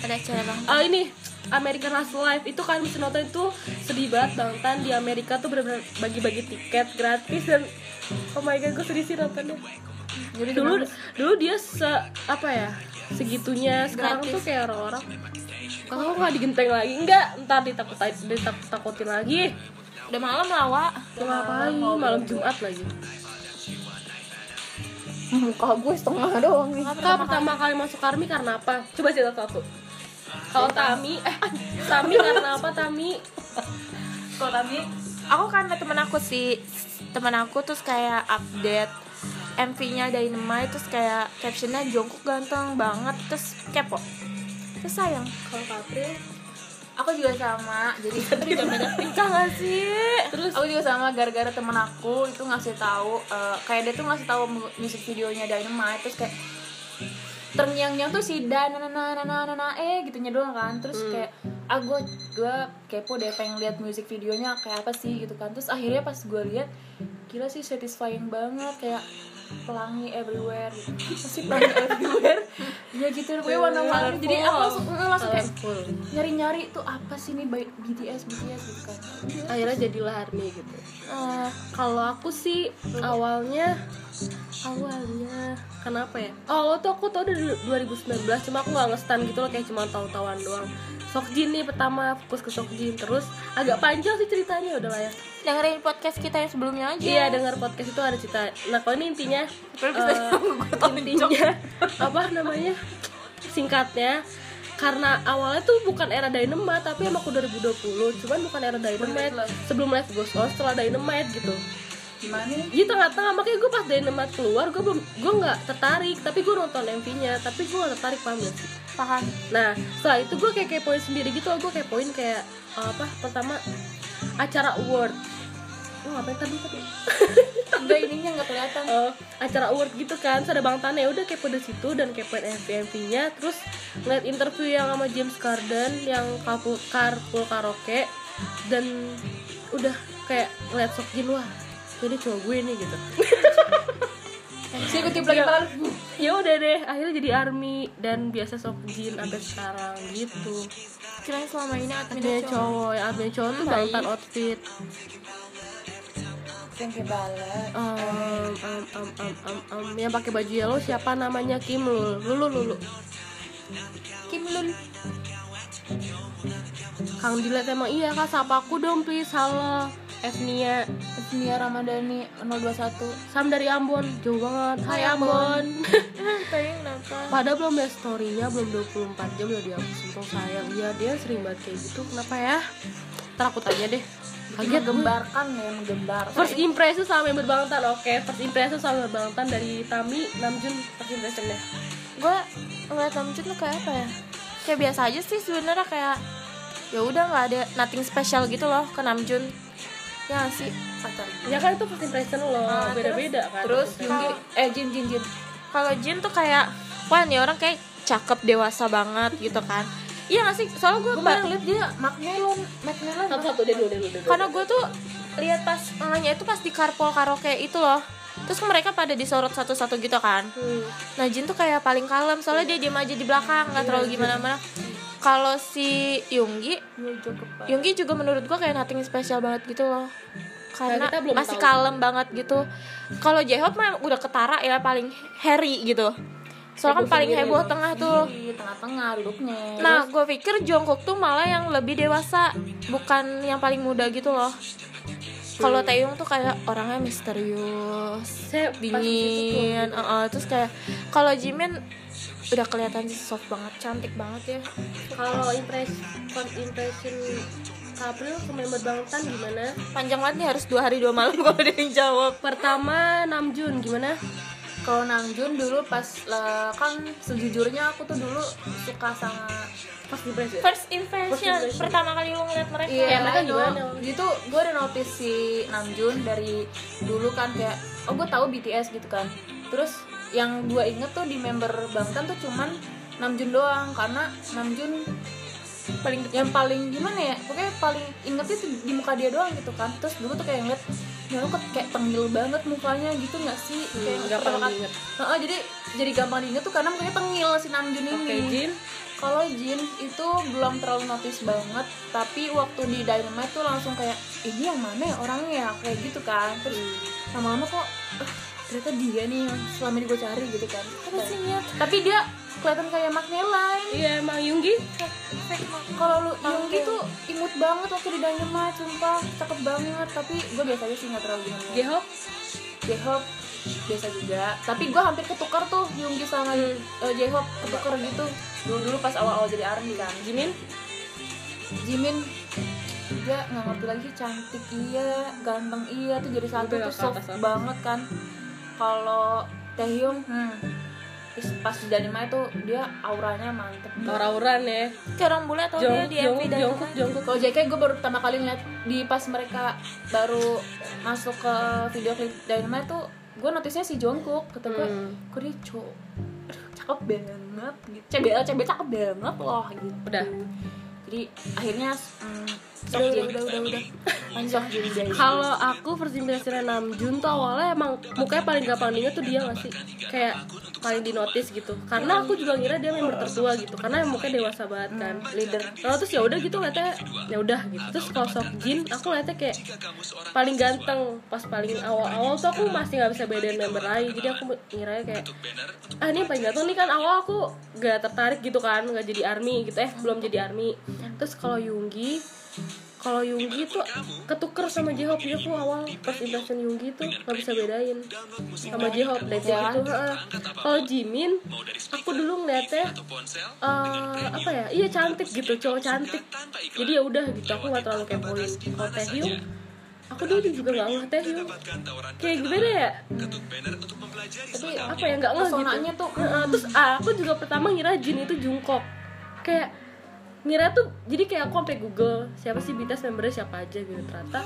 [SPEAKER 1] ada acara bang.
[SPEAKER 2] Ah ini American Hustle Life itu kalian mesti nonton itu sedih banget Bang Tan di Amerika tuh bener-bener bagi-bagi tiket gratis dan oh my god gue sedih sih nontonnya.
[SPEAKER 3] jadi dulu
[SPEAKER 2] Dulu dulu dia se apa ya segitunya sekarang tuh kayak orang-orang kalau nggak digenteng lagi enggak ntar ditakut ditakut takutin lagi
[SPEAKER 1] Udah malam lah Wak.
[SPEAKER 2] Mau ngapain malam Jumat lagi
[SPEAKER 3] Hmm, muka gue setengah doang nih
[SPEAKER 2] Kak pertama kali masuk Army karena apa? Coba cerita satu. Kalau Tami, eh Tami karena apa Tami?
[SPEAKER 3] kalau kami
[SPEAKER 1] Aku karena temen aku sih, temen aku terus kayak update MV-nya Dynamite terus kayak captionnya Jongkok ganteng banget terus kepo. Terus sayang.
[SPEAKER 2] Kalau April,
[SPEAKER 3] aku juga sama jadi
[SPEAKER 1] Udah banyak tingkah gak sih?
[SPEAKER 2] terus
[SPEAKER 3] aku juga sama gara-gara temen aku itu ngasih tahu eh, kayak dia tuh ngasih tahu mu- music videonya Dynamite terus kayak terngiang-ngiang tuh si dan na na na na na na eh gitunya doang kan terus kayak ah gue gue kepo deh pengen lihat music videonya kayak apa sih gitu kan terus akhirnya pas gue lihat gila sih satisfying banget kayak pelangi everywhere gitu. Pasti pelangi everywhere. ya gitu gue warna pelangi. Jadi aku langsung eh, langsung
[SPEAKER 1] ya?
[SPEAKER 3] kayak nyari-nyari tuh apa sih nih by- BTS BTS gitu kan.
[SPEAKER 2] akhirnya jadilah ARMY gitu
[SPEAKER 3] Eh,
[SPEAKER 2] kalau aku sih awalnya awalnya kenapa ya oh tuh aku tau dari 2019 cuma aku nggak ngestan gitu loh kayak cuma tahu-tahuan doang Sokjin nih pertama fokus ke Sokjin terus agak panjang sih ceritanya udah lah ya
[SPEAKER 1] dengerin podcast kita yang sebelumnya aja
[SPEAKER 2] Iya dengar podcast itu ada cerita. Nah kalau ini intinya,
[SPEAKER 1] Terus kita
[SPEAKER 2] eh, intinya apa namanya? Singkatnya karena awalnya tuh bukan era Dynamite tapi emang aku 2020 cuman bukan era Dynamite sebelum Life Goes On setelah Dynamite gitu
[SPEAKER 3] gimana?
[SPEAKER 2] di tengah-tengah makanya gue pas Dynamite keluar gue belum gue nggak tertarik tapi gue nonton MV-nya tapi gue nggak tertarik paham gak sih?
[SPEAKER 1] paham
[SPEAKER 2] Nah, setelah itu gue kayak kepoin sendiri gitu, gue kepoin kayak uh, apa? Pertama acara award. Oh, ngapain tadi tadi?
[SPEAKER 3] Udah ininya nggak kelihatan.
[SPEAKER 2] Eh, acara award gitu kan, terus ada Bang Tane udah kepo dari situ dan kepoin MV-nya, terus ngeliat interview yang sama James Corden yang kapul carpool karaoke dan udah kayak ngeliat Sokjin wah jadi cowok gue nih gitu
[SPEAKER 3] Sih gue tiup lagi pelan.
[SPEAKER 2] ya udah deh akhirnya jadi army dan biasa Sokjin sampai sekarang gitu
[SPEAKER 1] kirain selama ini adminnya
[SPEAKER 2] Adminnya cowok, yang admin cowok tuh bangtan outfit
[SPEAKER 3] Thank you banget.
[SPEAKER 2] um, um, um, um, um, um, Yang pakai baju yellow siapa namanya? Kim Lul Lulu Lulu
[SPEAKER 1] Kim Lun
[SPEAKER 2] Kang Dilet emang iya kak, sapa aku dong please Halo Efnia
[SPEAKER 3] Nia Ramadhani 021.
[SPEAKER 2] Sam dari Ambon, jauh banget Hai Ambon
[SPEAKER 1] pengen kenapa
[SPEAKER 2] Padahal belum best story-nya, belum 24 jam udah dihapus Untung sayang, iya dia sering banget kayak gitu Kenapa ya? Ntar aku tanya deh Kaget gue.
[SPEAKER 3] Menggembarkan ya, menggembar.
[SPEAKER 2] First impression sama member Bangtan, oke First impression sama member Bangtan dari Tami, Namjoon First impression-nya
[SPEAKER 1] gue ngeliat Namjoon tuh kayak apa ya kayak biasa aja sih sebenarnya kayak ya udah nggak ada nothing special gitu loh ke Namjoon ya nggak sih pacar
[SPEAKER 2] Ya kan itu first impression lo,
[SPEAKER 1] Ah,
[SPEAKER 2] beda-beda kan.
[SPEAKER 3] Terus
[SPEAKER 2] first
[SPEAKER 3] Yunggi, eh Jin Jin Jin.
[SPEAKER 1] kalau Jin tuh kayak wah nih orang kayak cakep dewasa banget gitu kan iya nggak sih soalnya gue
[SPEAKER 3] Gue kemarin liat dia Macmillan, Macmillan.
[SPEAKER 2] impression. satu-satu deh dulu deh dulu, deh dulu.
[SPEAKER 1] karena gue tuh lihat pas tengahnya itu pas di carpool karaoke itu loh terus mereka pada disorot satu-satu gitu kan
[SPEAKER 2] Hmm.
[SPEAKER 1] nah Jin tuh kayak paling kalem soalnya dia diem aja di belakang
[SPEAKER 3] Iya,
[SPEAKER 1] nggak terlalu gimana-mana kalau si Yunggi
[SPEAKER 3] Gue cukup banget.
[SPEAKER 1] Yunggi juga menurut gue kayak nothing spesial banget gitu loh karena
[SPEAKER 2] Nah, kita belum
[SPEAKER 1] masih
[SPEAKER 2] tahu.
[SPEAKER 1] kalem banget gitu kalau J-Hope mah udah ketara ya paling Harry gitu soalnya kan paling
[SPEAKER 2] gitu ya.
[SPEAKER 1] heboh tengah tuh
[SPEAKER 3] Di tengah-tengah duduknya.
[SPEAKER 1] Nah, gue pikir Jongkook tuh malah yang lebih dewasa, bukan yang paling muda gitu loh. Kalau Taeyong tuh kayak orangnya misterius,
[SPEAKER 2] Saya
[SPEAKER 1] dingin, uh-uh. terus kayak kalau Jimin udah kelihatan sih soft banget, cantik banget ya.
[SPEAKER 2] Kalau impression first impression April ke member Bangtan gimana?
[SPEAKER 1] Panjang banget nih harus dua hari dua malam kalau ada yang jawab.
[SPEAKER 2] Pertama Namjoon gimana?
[SPEAKER 3] Kalau Namjoon dulu pas eh, kan sejujurnya aku tuh dulu suka sama
[SPEAKER 2] First impression.
[SPEAKER 1] First impression, pertama kali lu ngeliat mereka.
[SPEAKER 3] Iya,
[SPEAKER 2] mereka
[SPEAKER 3] I know.
[SPEAKER 2] gimana?
[SPEAKER 3] Gitu gue udah notice si Namjoon dari dulu kan kayak oh gue tahu BTS gitu kan. Terus yang gue inget tuh di member Bangtan tuh cuman Namjoon doang karena Namjoon paling yang paling gimana ya pokoknya paling ingetnya tuh di muka dia doang gitu kan terus dulu tuh kayak ngeliat ya lu kok kayak tengil banget mukanya gitu nggak sih
[SPEAKER 2] Hmm,
[SPEAKER 3] kayak
[SPEAKER 2] gampang
[SPEAKER 3] pertama kali-
[SPEAKER 2] diinget.
[SPEAKER 3] Heeh, jadi jadi gampang diinget tuh karena mukanya tengil si Namjoon ini
[SPEAKER 2] Oke, Jin.
[SPEAKER 3] kalau Jin itu belum terlalu notice banget, tapi waktu di Dynamite tuh langsung kayak ini yang mana ya orangnya ya?" kayak gitu kan. Terus lama-lama kok "Eh, ternyata dia nih yang selama ini gue cari gitu kan. Apa sih Nyet? Tapi dia kelihatan kayak Macmillan.
[SPEAKER 2] Iya, emang Yunggi.
[SPEAKER 3] Kalau lu Yonggi tuh imut banget waktu di Dynamite, sumpah cakep banget. Tapi gue biasa aja sih nggak terlalu gimana.
[SPEAKER 2] J-Hope.
[SPEAKER 3] J-Hope biasa juga tapi gue hampir ketukar tuh Yunggi sama eh, J-Hope ketukar gitu dulu dulu pas awal-awal jadi R&B kan
[SPEAKER 2] Jimin.
[SPEAKER 3] Jimin dia nggak ngerti lagi cantik iya ganteng iya tuh jadi satu
[SPEAKER 2] Udah,
[SPEAKER 3] tuh
[SPEAKER 2] ke
[SPEAKER 3] soft
[SPEAKER 2] atas, atas.
[SPEAKER 3] banget kan kalau Taehyung hmm, terus pas di Dynamite tuh dia auranya mantep banget
[SPEAKER 2] Aura-auran ya.
[SPEAKER 1] Kayak orang bule atau dia
[SPEAKER 2] Jong,
[SPEAKER 1] di
[SPEAKER 2] Jong,
[SPEAKER 1] MV dan
[SPEAKER 2] Jongkook, Jongkook.
[SPEAKER 3] kalau JK gue baru pertama kali ngeliat di pas mereka baru masuk ke video klip Dynamite tuh gue notisnya si Jongkook kata gue
[SPEAKER 2] Hmm.
[SPEAKER 3] kok dia cowok aduh, cakep banget gitu CBL CBL cakep banget loh gitu
[SPEAKER 2] Udah.
[SPEAKER 3] jadi akhirnya mm,
[SPEAKER 1] udah, udah, udah, udah, udah. Sok Jin Jae.
[SPEAKER 2] Kalau aku first impressionnya Namjoon tuh awalnya emang mukanya paling gampang diingat tuh dia gak sih? Kayak paling di notice gitu. Karena aku juga ngira dia member tertua gitu. Karena emang mukanya dewasa banget kan, leader. Lalu terus ya udah gitu ngeliatnya ya udah gitu. Terus kalau Sok Jin aku ngeliatnya kayak paling ganteng pas paling awal-awal tuh aku masih nggak bisa bedain member lain. Jadi aku ngira kayak ah ini yang paling ganteng nih kan awal aku gak tertarik gitu kan nggak jadi army gitu eh belum jadi army terus kalau Yunggi kalau Yunggi tuh ketuker sama J-Hope dia tuh awal pas impression Yunggi tuh nggak bisa bedain sama J-Hope dari situ
[SPEAKER 3] Jalan.
[SPEAKER 2] heeh. kalau Jimin aku dulu ya. ngeliatnya eh apa ya iya cantik gitu cowok cantik jadi ya udah gitu aku nggak terlalu kepoin kalau Taehyung aku dulu juga nggak ngeh Taehyung kayak gimana ya tapi apa ya nggak ngeh gitu
[SPEAKER 3] Pesonanya tuh,
[SPEAKER 2] Heeh, terus ah, aku juga pertama ngira Jin itu jungkok kayak ngira tuh jadi kayak aku sampai Google siapa sih BTS membernya siapa aja gitu ternyata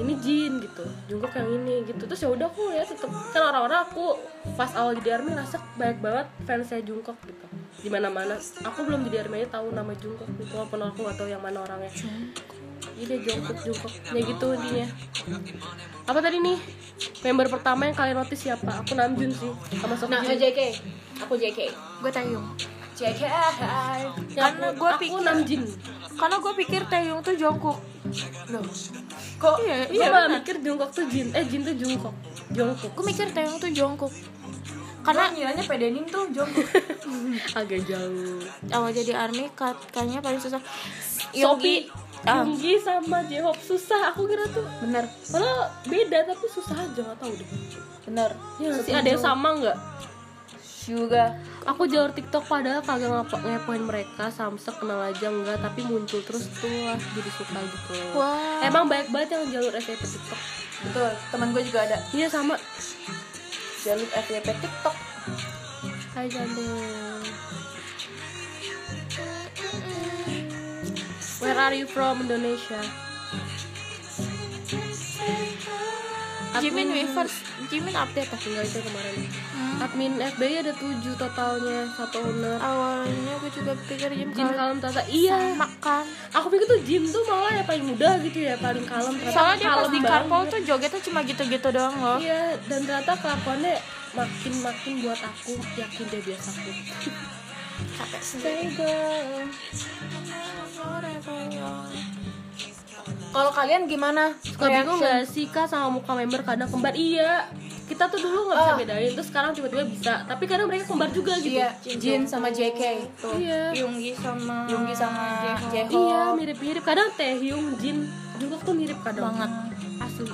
[SPEAKER 2] ini Jin gitu jungkok yang ini gitu terus ya udah aku ya tetep kan orang-orang aku pas awal jadi army rasa banyak banget fans saya jungkok gitu di mana mana aku belum jadi army aja tahu nama jungkok gitu walaupun aku gak tahu yang mana orangnya jadi jungkok jungkok ya gitu intinya apa tadi nih member pertama yang kalian notice siapa aku Namjoon sih sama Sok
[SPEAKER 3] Nah,
[SPEAKER 2] Jin.
[SPEAKER 3] JK. Aku JK.
[SPEAKER 1] Gue Taeyong.
[SPEAKER 3] JK.
[SPEAKER 2] Kan
[SPEAKER 1] Karena gue
[SPEAKER 2] aku
[SPEAKER 1] pikir
[SPEAKER 2] Namjin
[SPEAKER 1] karena gue pikir Taeyong tuh jongkok. Loh. Kok iya, iya
[SPEAKER 2] iya malah
[SPEAKER 1] bener.
[SPEAKER 2] mikir Jungkook tuh Jin eh Jin tuh Jungkook Jungkook
[SPEAKER 1] Gue mikir Taeyong tuh jongkok.
[SPEAKER 3] Karena
[SPEAKER 1] Karena
[SPEAKER 3] ngiranya Pedenim tuh jongkok.
[SPEAKER 2] agak jauh
[SPEAKER 1] awal jadi army katanya paling susah.
[SPEAKER 2] Sobi
[SPEAKER 1] Yogi Ah,
[SPEAKER 2] Yonggi sama J-Hope susah aku kira tuh
[SPEAKER 3] Bener.
[SPEAKER 2] padahal beda tapi susah aja nggak tahu deh
[SPEAKER 3] Bener.
[SPEAKER 2] ya nggak sih ada yang sama nggak
[SPEAKER 3] Juga.
[SPEAKER 2] aku jalur TikTok padahal kagak ngapa ngepoin mereka Samsek kenal aja enggak tapi muncul terus tuh lah jadi suka gitu
[SPEAKER 1] Wah.
[SPEAKER 2] emang banyak banget yang jalur SCP TikTok
[SPEAKER 3] Betul. Temen gue juga ada.
[SPEAKER 2] iya sama
[SPEAKER 3] Jalur FYP TikTok.
[SPEAKER 2] Hai Jantung Where are you from Indonesia?
[SPEAKER 1] Jimin Weavers, Jimin update ah.
[SPEAKER 2] Tinggal itu kemarin
[SPEAKER 1] Hmm?
[SPEAKER 2] Admin FBI ada 7 totalnya Satu owner
[SPEAKER 1] Awalnya gue juga pikir Jim kan?
[SPEAKER 2] Jin
[SPEAKER 1] kalau
[SPEAKER 2] kalem tata Iya
[SPEAKER 1] makan.
[SPEAKER 2] Aku pikir tuh Jin tuh malah ya paling muda gitu ya Paling kalem ternyata
[SPEAKER 1] Soalnya dia pas
[SPEAKER 2] kalem
[SPEAKER 1] di
[SPEAKER 2] banget.
[SPEAKER 1] carpool tuh jogetnya cuma gitu-gitu doang loh.
[SPEAKER 2] Iya dan ternyata kelakuannya Makin-makin buat aku Yakin dia biasa aku
[SPEAKER 1] Capek sendiri.
[SPEAKER 2] Say girl
[SPEAKER 3] Kalau kalian gimana?
[SPEAKER 2] Suka bingung gak sih kak sama muka member kadang kembar? Iya Kita tuh dulu gak bisa
[SPEAKER 1] Ah.
[SPEAKER 2] bedain Terus sekarang tiba-tiba bisa Tapi kadang mereka kembar juga gitu
[SPEAKER 3] Iya, Jin sama JK. Tuh.
[SPEAKER 2] Iya
[SPEAKER 1] Yunggi sama
[SPEAKER 3] Yonggi sama Jeho.
[SPEAKER 2] Iya
[SPEAKER 1] Oh.
[SPEAKER 2] mirip-mirip Kadang Taehyung, Jin Jungkook tuh mirip kadang
[SPEAKER 1] banget
[SPEAKER 2] Asli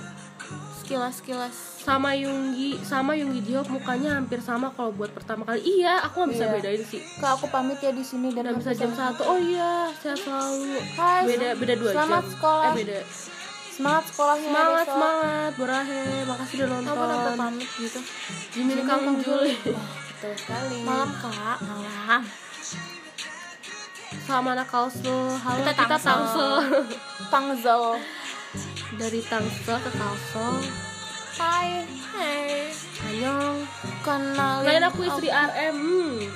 [SPEAKER 1] sekilas-sekilas.
[SPEAKER 2] sama Yunggi sama Yunggi Jihob mukanya hampir sama kalau buat pertama kali iya aku nggak bisa
[SPEAKER 3] Iya.
[SPEAKER 2] bedain sih
[SPEAKER 3] Kak aku pamit ya di sini dan
[SPEAKER 2] nggak bisa jam satu oh iya saya selalu
[SPEAKER 1] Hai,
[SPEAKER 2] beda beda dua
[SPEAKER 1] selamat
[SPEAKER 2] jam
[SPEAKER 1] sekolah.
[SPEAKER 2] eh beda
[SPEAKER 1] Semangat
[SPEAKER 3] ya,
[SPEAKER 1] sekolahnya.
[SPEAKER 2] semangat
[SPEAKER 1] besok.
[SPEAKER 2] semangat borahe makasih udah
[SPEAKER 1] Kamu sampai
[SPEAKER 2] nonton
[SPEAKER 1] pamit gitu.
[SPEAKER 2] Jimin Kang Juli
[SPEAKER 3] Betul sekali.
[SPEAKER 1] Malam kak. Malam.
[SPEAKER 2] sama anak Kalsel halo
[SPEAKER 1] Kita
[SPEAKER 2] kita,
[SPEAKER 1] Tangsel.
[SPEAKER 2] Tangsel
[SPEAKER 1] Tangzel.
[SPEAKER 2] dari Tangsel ke Kalsel
[SPEAKER 1] Hai. Hai.
[SPEAKER 2] Anyong
[SPEAKER 1] Kenalin.
[SPEAKER 2] lain aku istri RM hmm.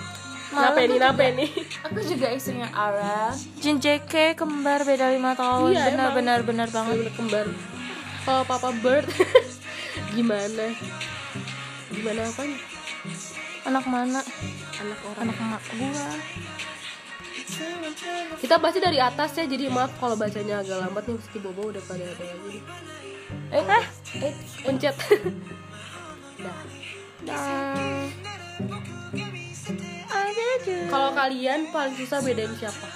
[SPEAKER 1] Malam
[SPEAKER 2] Nape nih,
[SPEAKER 1] tuh
[SPEAKER 2] nape nih
[SPEAKER 3] Aku juga istrinya Ara.
[SPEAKER 1] Jin JK kembar beda lima tahun.
[SPEAKER 2] Iya,
[SPEAKER 1] benar
[SPEAKER 2] emang.
[SPEAKER 1] benar benar banget.
[SPEAKER 2] Bener kembar Kalau Papa Bird Gimana? Gimana apa nih?
[SPEAKER 1] Anak mana?
[SPEAKER 2] Anak orang
[SPEAKER 1] Anak emak gua.
[SPEAKER 2] Kita pasti dari atas ya Jadi maaf kalau bacanya agak lambat nih Meski Bobo udah pada ada lagi nih.
[SPEAKER 3] Eh, eh,
[SPEAKER 2] Pencet Dah.
[SPEAKER 1] Dan
[SPEAKER 2] Kalau kalian paling susah bedain siapa?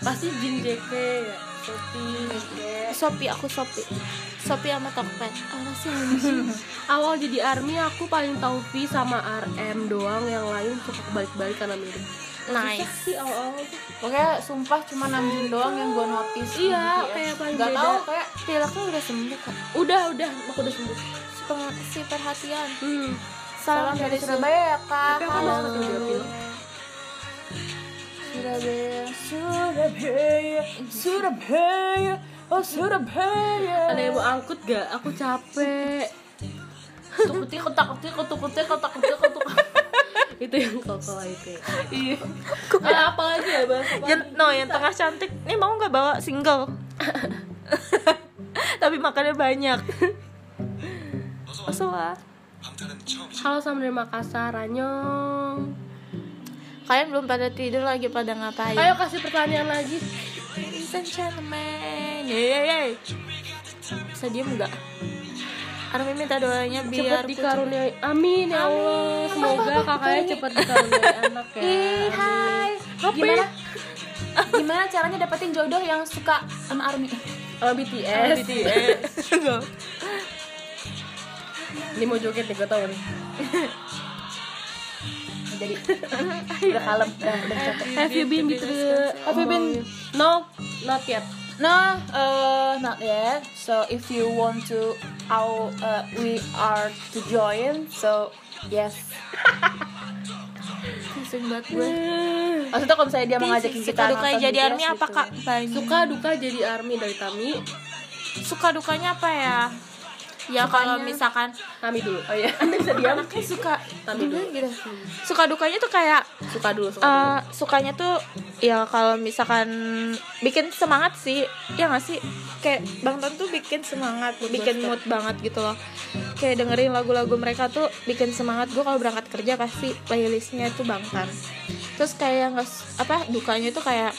[SPEAKER 2] Pasti Jin JK ya Sophie JK.
[SPEAKER 1] Shopee aku Shopee. Shopee sama Tokped. Apa sih?
[SPEAKER 2] Awal jadi ARMY aku paling tahu V sama RM doang Yang lain suka kebalik-balik karena mirip
[SPEAKER 1] Nice.
[SPEAKER 2] Sih awal-awal tuh.
[SPEAKER 3] pokoknya sumpah cuma Namjoon doang yang gue notice.
[SPEAKER 2] Iya,
[SPEAKER 3] Gitu ya.
[SPEAKER 2] kayak paling
[SPEAKER 3] Gak
[SPEAKER 2] beda.
[SPEAKER 3] tau kayak
[SPEAKER 1] Pilaknya udah sembuh kok.
[SPEAKER 2] Udah, udah, aku udah sembuh
[SPEAKER 1] Si peng- Si perhatian.
[SPEAKER 2] Hmm,
[SPEAKER 1] Salam dari Surabaya ya kak.
[SPEAKER 2] tapi aku masih suka dia pilih.
[SPEAKER 3] Surabaya, Surabaya, Surabaya, oh Surabaya.
[SPEAKER 2] Ada yang mau angkut gak? Aku capek.
[SPEAKER 3] Tukuti kotak kutik kotak kutik kotak kutik kotak.
[SPEAKER 2] itu yang koko itu.
[SPEAKER 3] Iya.
[SPEAKER 2] Ah, apa lagi ya, Bang?
[SPEAKER 1] Yang, no, yang tengah cantik. Nih mau nggak bawa single? tapi makannya banyak Osoa
[SPEAKER 2] Halo sama dari Makassar, Anyong.
[SPEAKER 1] kalian belum pada tidur lagi pada ngapain
[SPEAKER 2] Ayo kasih pertanyaan lagi.
[SPEAKER 1] Ladies and gentlemen Yeay, yeay, yeay. Bisa diem nggak? Armi minta doanya biar
[SPEAKER 2] Cepet dikaruniai. Amin ya Allah. Semoga kakaknya cepet dikaruniai anak ya.
[SPEAKER 3] Ih, hai. Gimana? Gimana caranya dapetin jodoh yang suka sama Army? Eh,
[SPEAKER 2] Oh, BTS.
[SPEAKER 1] BTS
[SPEAKER 2] Ini mau joget nih, gue tau kan. nih.
[SPEAKER 3] Jadi udah kalem, udah udah capek.
[SPEAKER 2] Have you been to the... Have you been... Oh, iya. No, not yet.
[SPEAKER 3] No, uh, not yet. So if you want to, how uh, we are to join, so yes.
[SPEAKER 1] Pusing banget gue
[SPEAKER 3] Maksudnya kalau misalnya dia mau ngajakin kita
[SPEAKER 1] Suka dukanya
[SPEAKER 3] nonton
[SPEAKER 1] jadi
[SPEAKER 3] BTS
[SPEAKER 1] Armi
[SPEAKER 3] gitu.
[SPEAKER 1] apa kak? Banyak
[SPEAKER 2] Suka duka jadi army dari Tami.
[SPEAKER 1] Suka dukanya apa ya? Ya kalau misalkan
[SPEAKER 2] Tami dulu. Oh iya, Anda bisa diam.
[SPEAKER 1] Anaknya suka Iya, gitu.
[SPEAKER 2] Tami dulu.
[SPEAKER 1] Suka dukanya tuh kayak
[SPEAKER 2] Suka dulu, gitu, suka dulu.
[SPEAKER 1] eh, Sukanya tuh Ya kalau misalkan Bikin semangat sih Ya gak sih? Kayak Bang Ton tuh bikin semangat Bikin mood banget gitu loh Kayak dengerin lagu-lagu mereka tuh Bikin semangat Gue kalau berangkat kerja Pasti playlistnya tuh Bang Tan Terus kayak nggak s- Apa Dukanya tuh kayak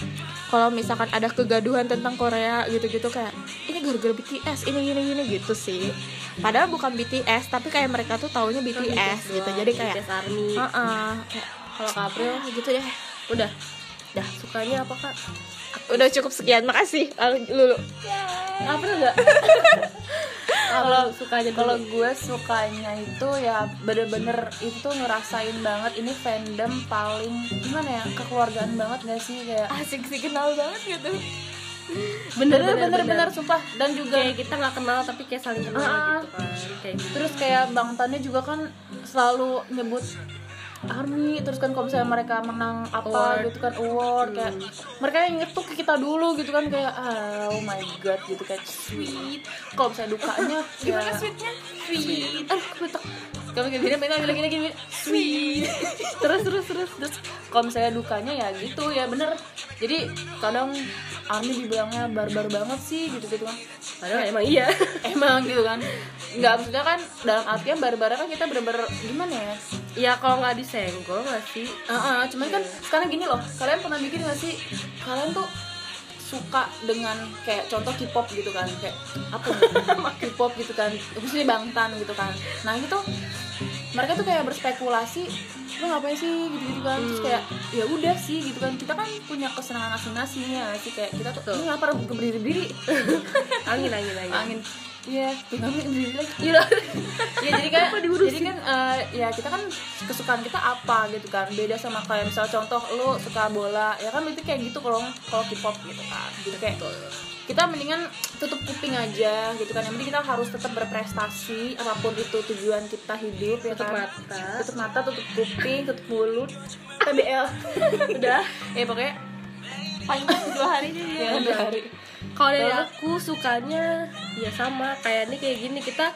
[SPEAKER 1] kalau misalkan ada kegaduhan tentang Korea gitu-gitu kayak ini gara-gara BTS ini gini gini gitu sih padahal bukan BTS tapi kayak mereka tuh taunya BTS gitu
[SPEAKER 2] doang,
[SPEAKER 1] jadi kayak
[SPEAKER 2] BTS Army.
[SPEAKER 1] Heeh, kayak
[SPEAKER 2] Kalau Kak April,
[SPEAKER 1] "Ah, gitu deh.
[SPEAKER 2] udah. Dah, sukanya apa, Kak?
[SPEAKER 1] Udah cukup sekian. Makasih Al- Lulu.
[SPEAKER 2] April enggak? Kalau sukanya
[SPEAKER 3] Kalau gue sukanya itu ya bener-bener itu ngerasain banget ini fandom paling gimana ya kekeluargaan banget gak sih kayak
[SPEAKER 1] Asik sih kenal banget gitu.
[SPEAKER 3] bener-bener sumpah dan juga
[SPEAKER 2] kayak kita nggak kenal tapi kayak saling kenal
[SPEAKER 3] Ah.
[SPEAKER 2] gitu kan kayak gitu
[SPEAKER 3] terus kayak Bang Tannya juga kan selalu nyebut Army terus kan kalau misalnya mereka menang apa
[SPEAKER 2] Award.
[SPEAKER 3] gitu kan award kayak mereka yang ngetuk ke kita dulu gitu kan kayak oh my god gitu kayak sweet kalau misalnya dukanya gimana sweetnya sweet Eh, aduh kutek kalau gini gini gini gini, gini gini sweet terus terus terus terus kalau misalnya dukanya ya gitu ya bener jadi kadang Army dibilangnya barbar banget sih gitu gitu kan
[SPEAKER 2] padahal emang iya
[SPEAKER 3] emang gitu kan nggak maksudnya kan dalam artian barbar kan kita bener-bener gimana ya
[SPEAKER 2] ya kalau nggak disenggol nggak sih
[SPEAKER 3] Heeh, cuman kan
[SPEAKER 1] Iya.
[SPEAKER 3] sekarang gini loh kalian pernah mikir gak sih kalian tuh suka dengan kayak contoh K-pop gitu kan kayak apa ya? K-pop gitu kan khususnya Bangtan gitu kan nah itu mereka tuh kayak berspekulasi lu ngapain sih gitu gitu kan
[SPEAKER 1] Hmm.
[SPEAKER 3] terus kayak ya udah sih gitu kan kita kan punya kesenangan masing-masing ya nggak sih kayak kita tuh lu ngapa rebuh berdiri berdiri
[SPEAKER 2] angin angin angin
[SPEAKER 3] angin iya tinggal berdiri lagi Iya. ya jadi kan jadi kan eh, ya kita kan kesukaan kita apa gitu kan beda sama kayak misal contoh lu suka bola ya kan itu kayak gitu kalau kalau K-pop gitu kan gitu kayak kita mendingan tutup kuping aja gitu kan yang penting kita harus tetap berprestasi apapun itu tujuan kita hidup ya
[SPEAKER 2] Tutup
[SPEAKER 3] kan
[SPEAKER 2] mata.
[SPEAKER 3] tutup mata tutup kuping tutup mulut TBL
[SPEAKER 2] udah
[SPEAKER 3] ya pokoknya
[SPEAKER 1] Paling dua hari
[SPEAKER 2] Iya,
[SPEAKER 1] ini
[SPEAKER 3] ya,
[SPEAKER 2] udah.
[SPEAKER 3] hari
[SPEAKER 2] kalau dari
[SPEAKER 3] Terus?
[SPEAKER 2] aku sukanya ya sama kayak ini kayak gini kita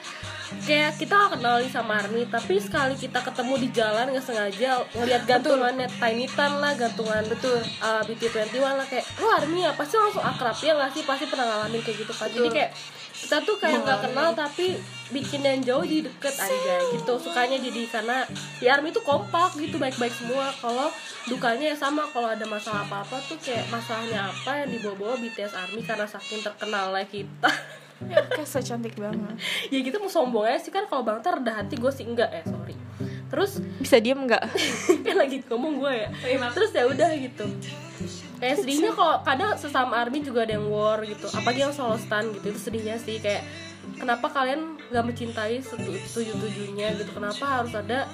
[SPEAKER 2] kayak kita nggak kenal nih sama Army tapi sekali kita ketemu di jalan nggak sengaja ngeliat gantungannya Tiny Tan lah gantungan uh, betul BT21 lah kayak lu Army apa sih langsung akrab ya nggak sih pasti pernah ngalamin kayak gitu kan jadi kayak kita tuh kayak nggak kenal tapi bikin yang jauh jadi deket aja gitu sukanya jadi karena di army tuh kompak gitu baik-baik semua kalau dukanya ya sama kalau ada masalah apa-apa tuh kayak masalahnya apa yang dibawa-bawa BTS army karena saking terkenalnya kita
[SPEAKER 1] Kayak so cantik banget.
[SPEAKER 2] ya gitu mau sombong aja sih kan kalau bang Tar rendah hati gue sih enggak ya sorry terus
[SPEAKER 1] Bisa diem nggak?
[SPEAKER 2] kan lagi ngomong gue ya terus ya udah gitu kayak sedihnya kalau kadang sesama army juga ada yang war gitu apalagi yang solo stan gitu itu sedihnya sih kayak kenapa kalian gak mencintai tujuh tujuhnya gitu kenapa harus ada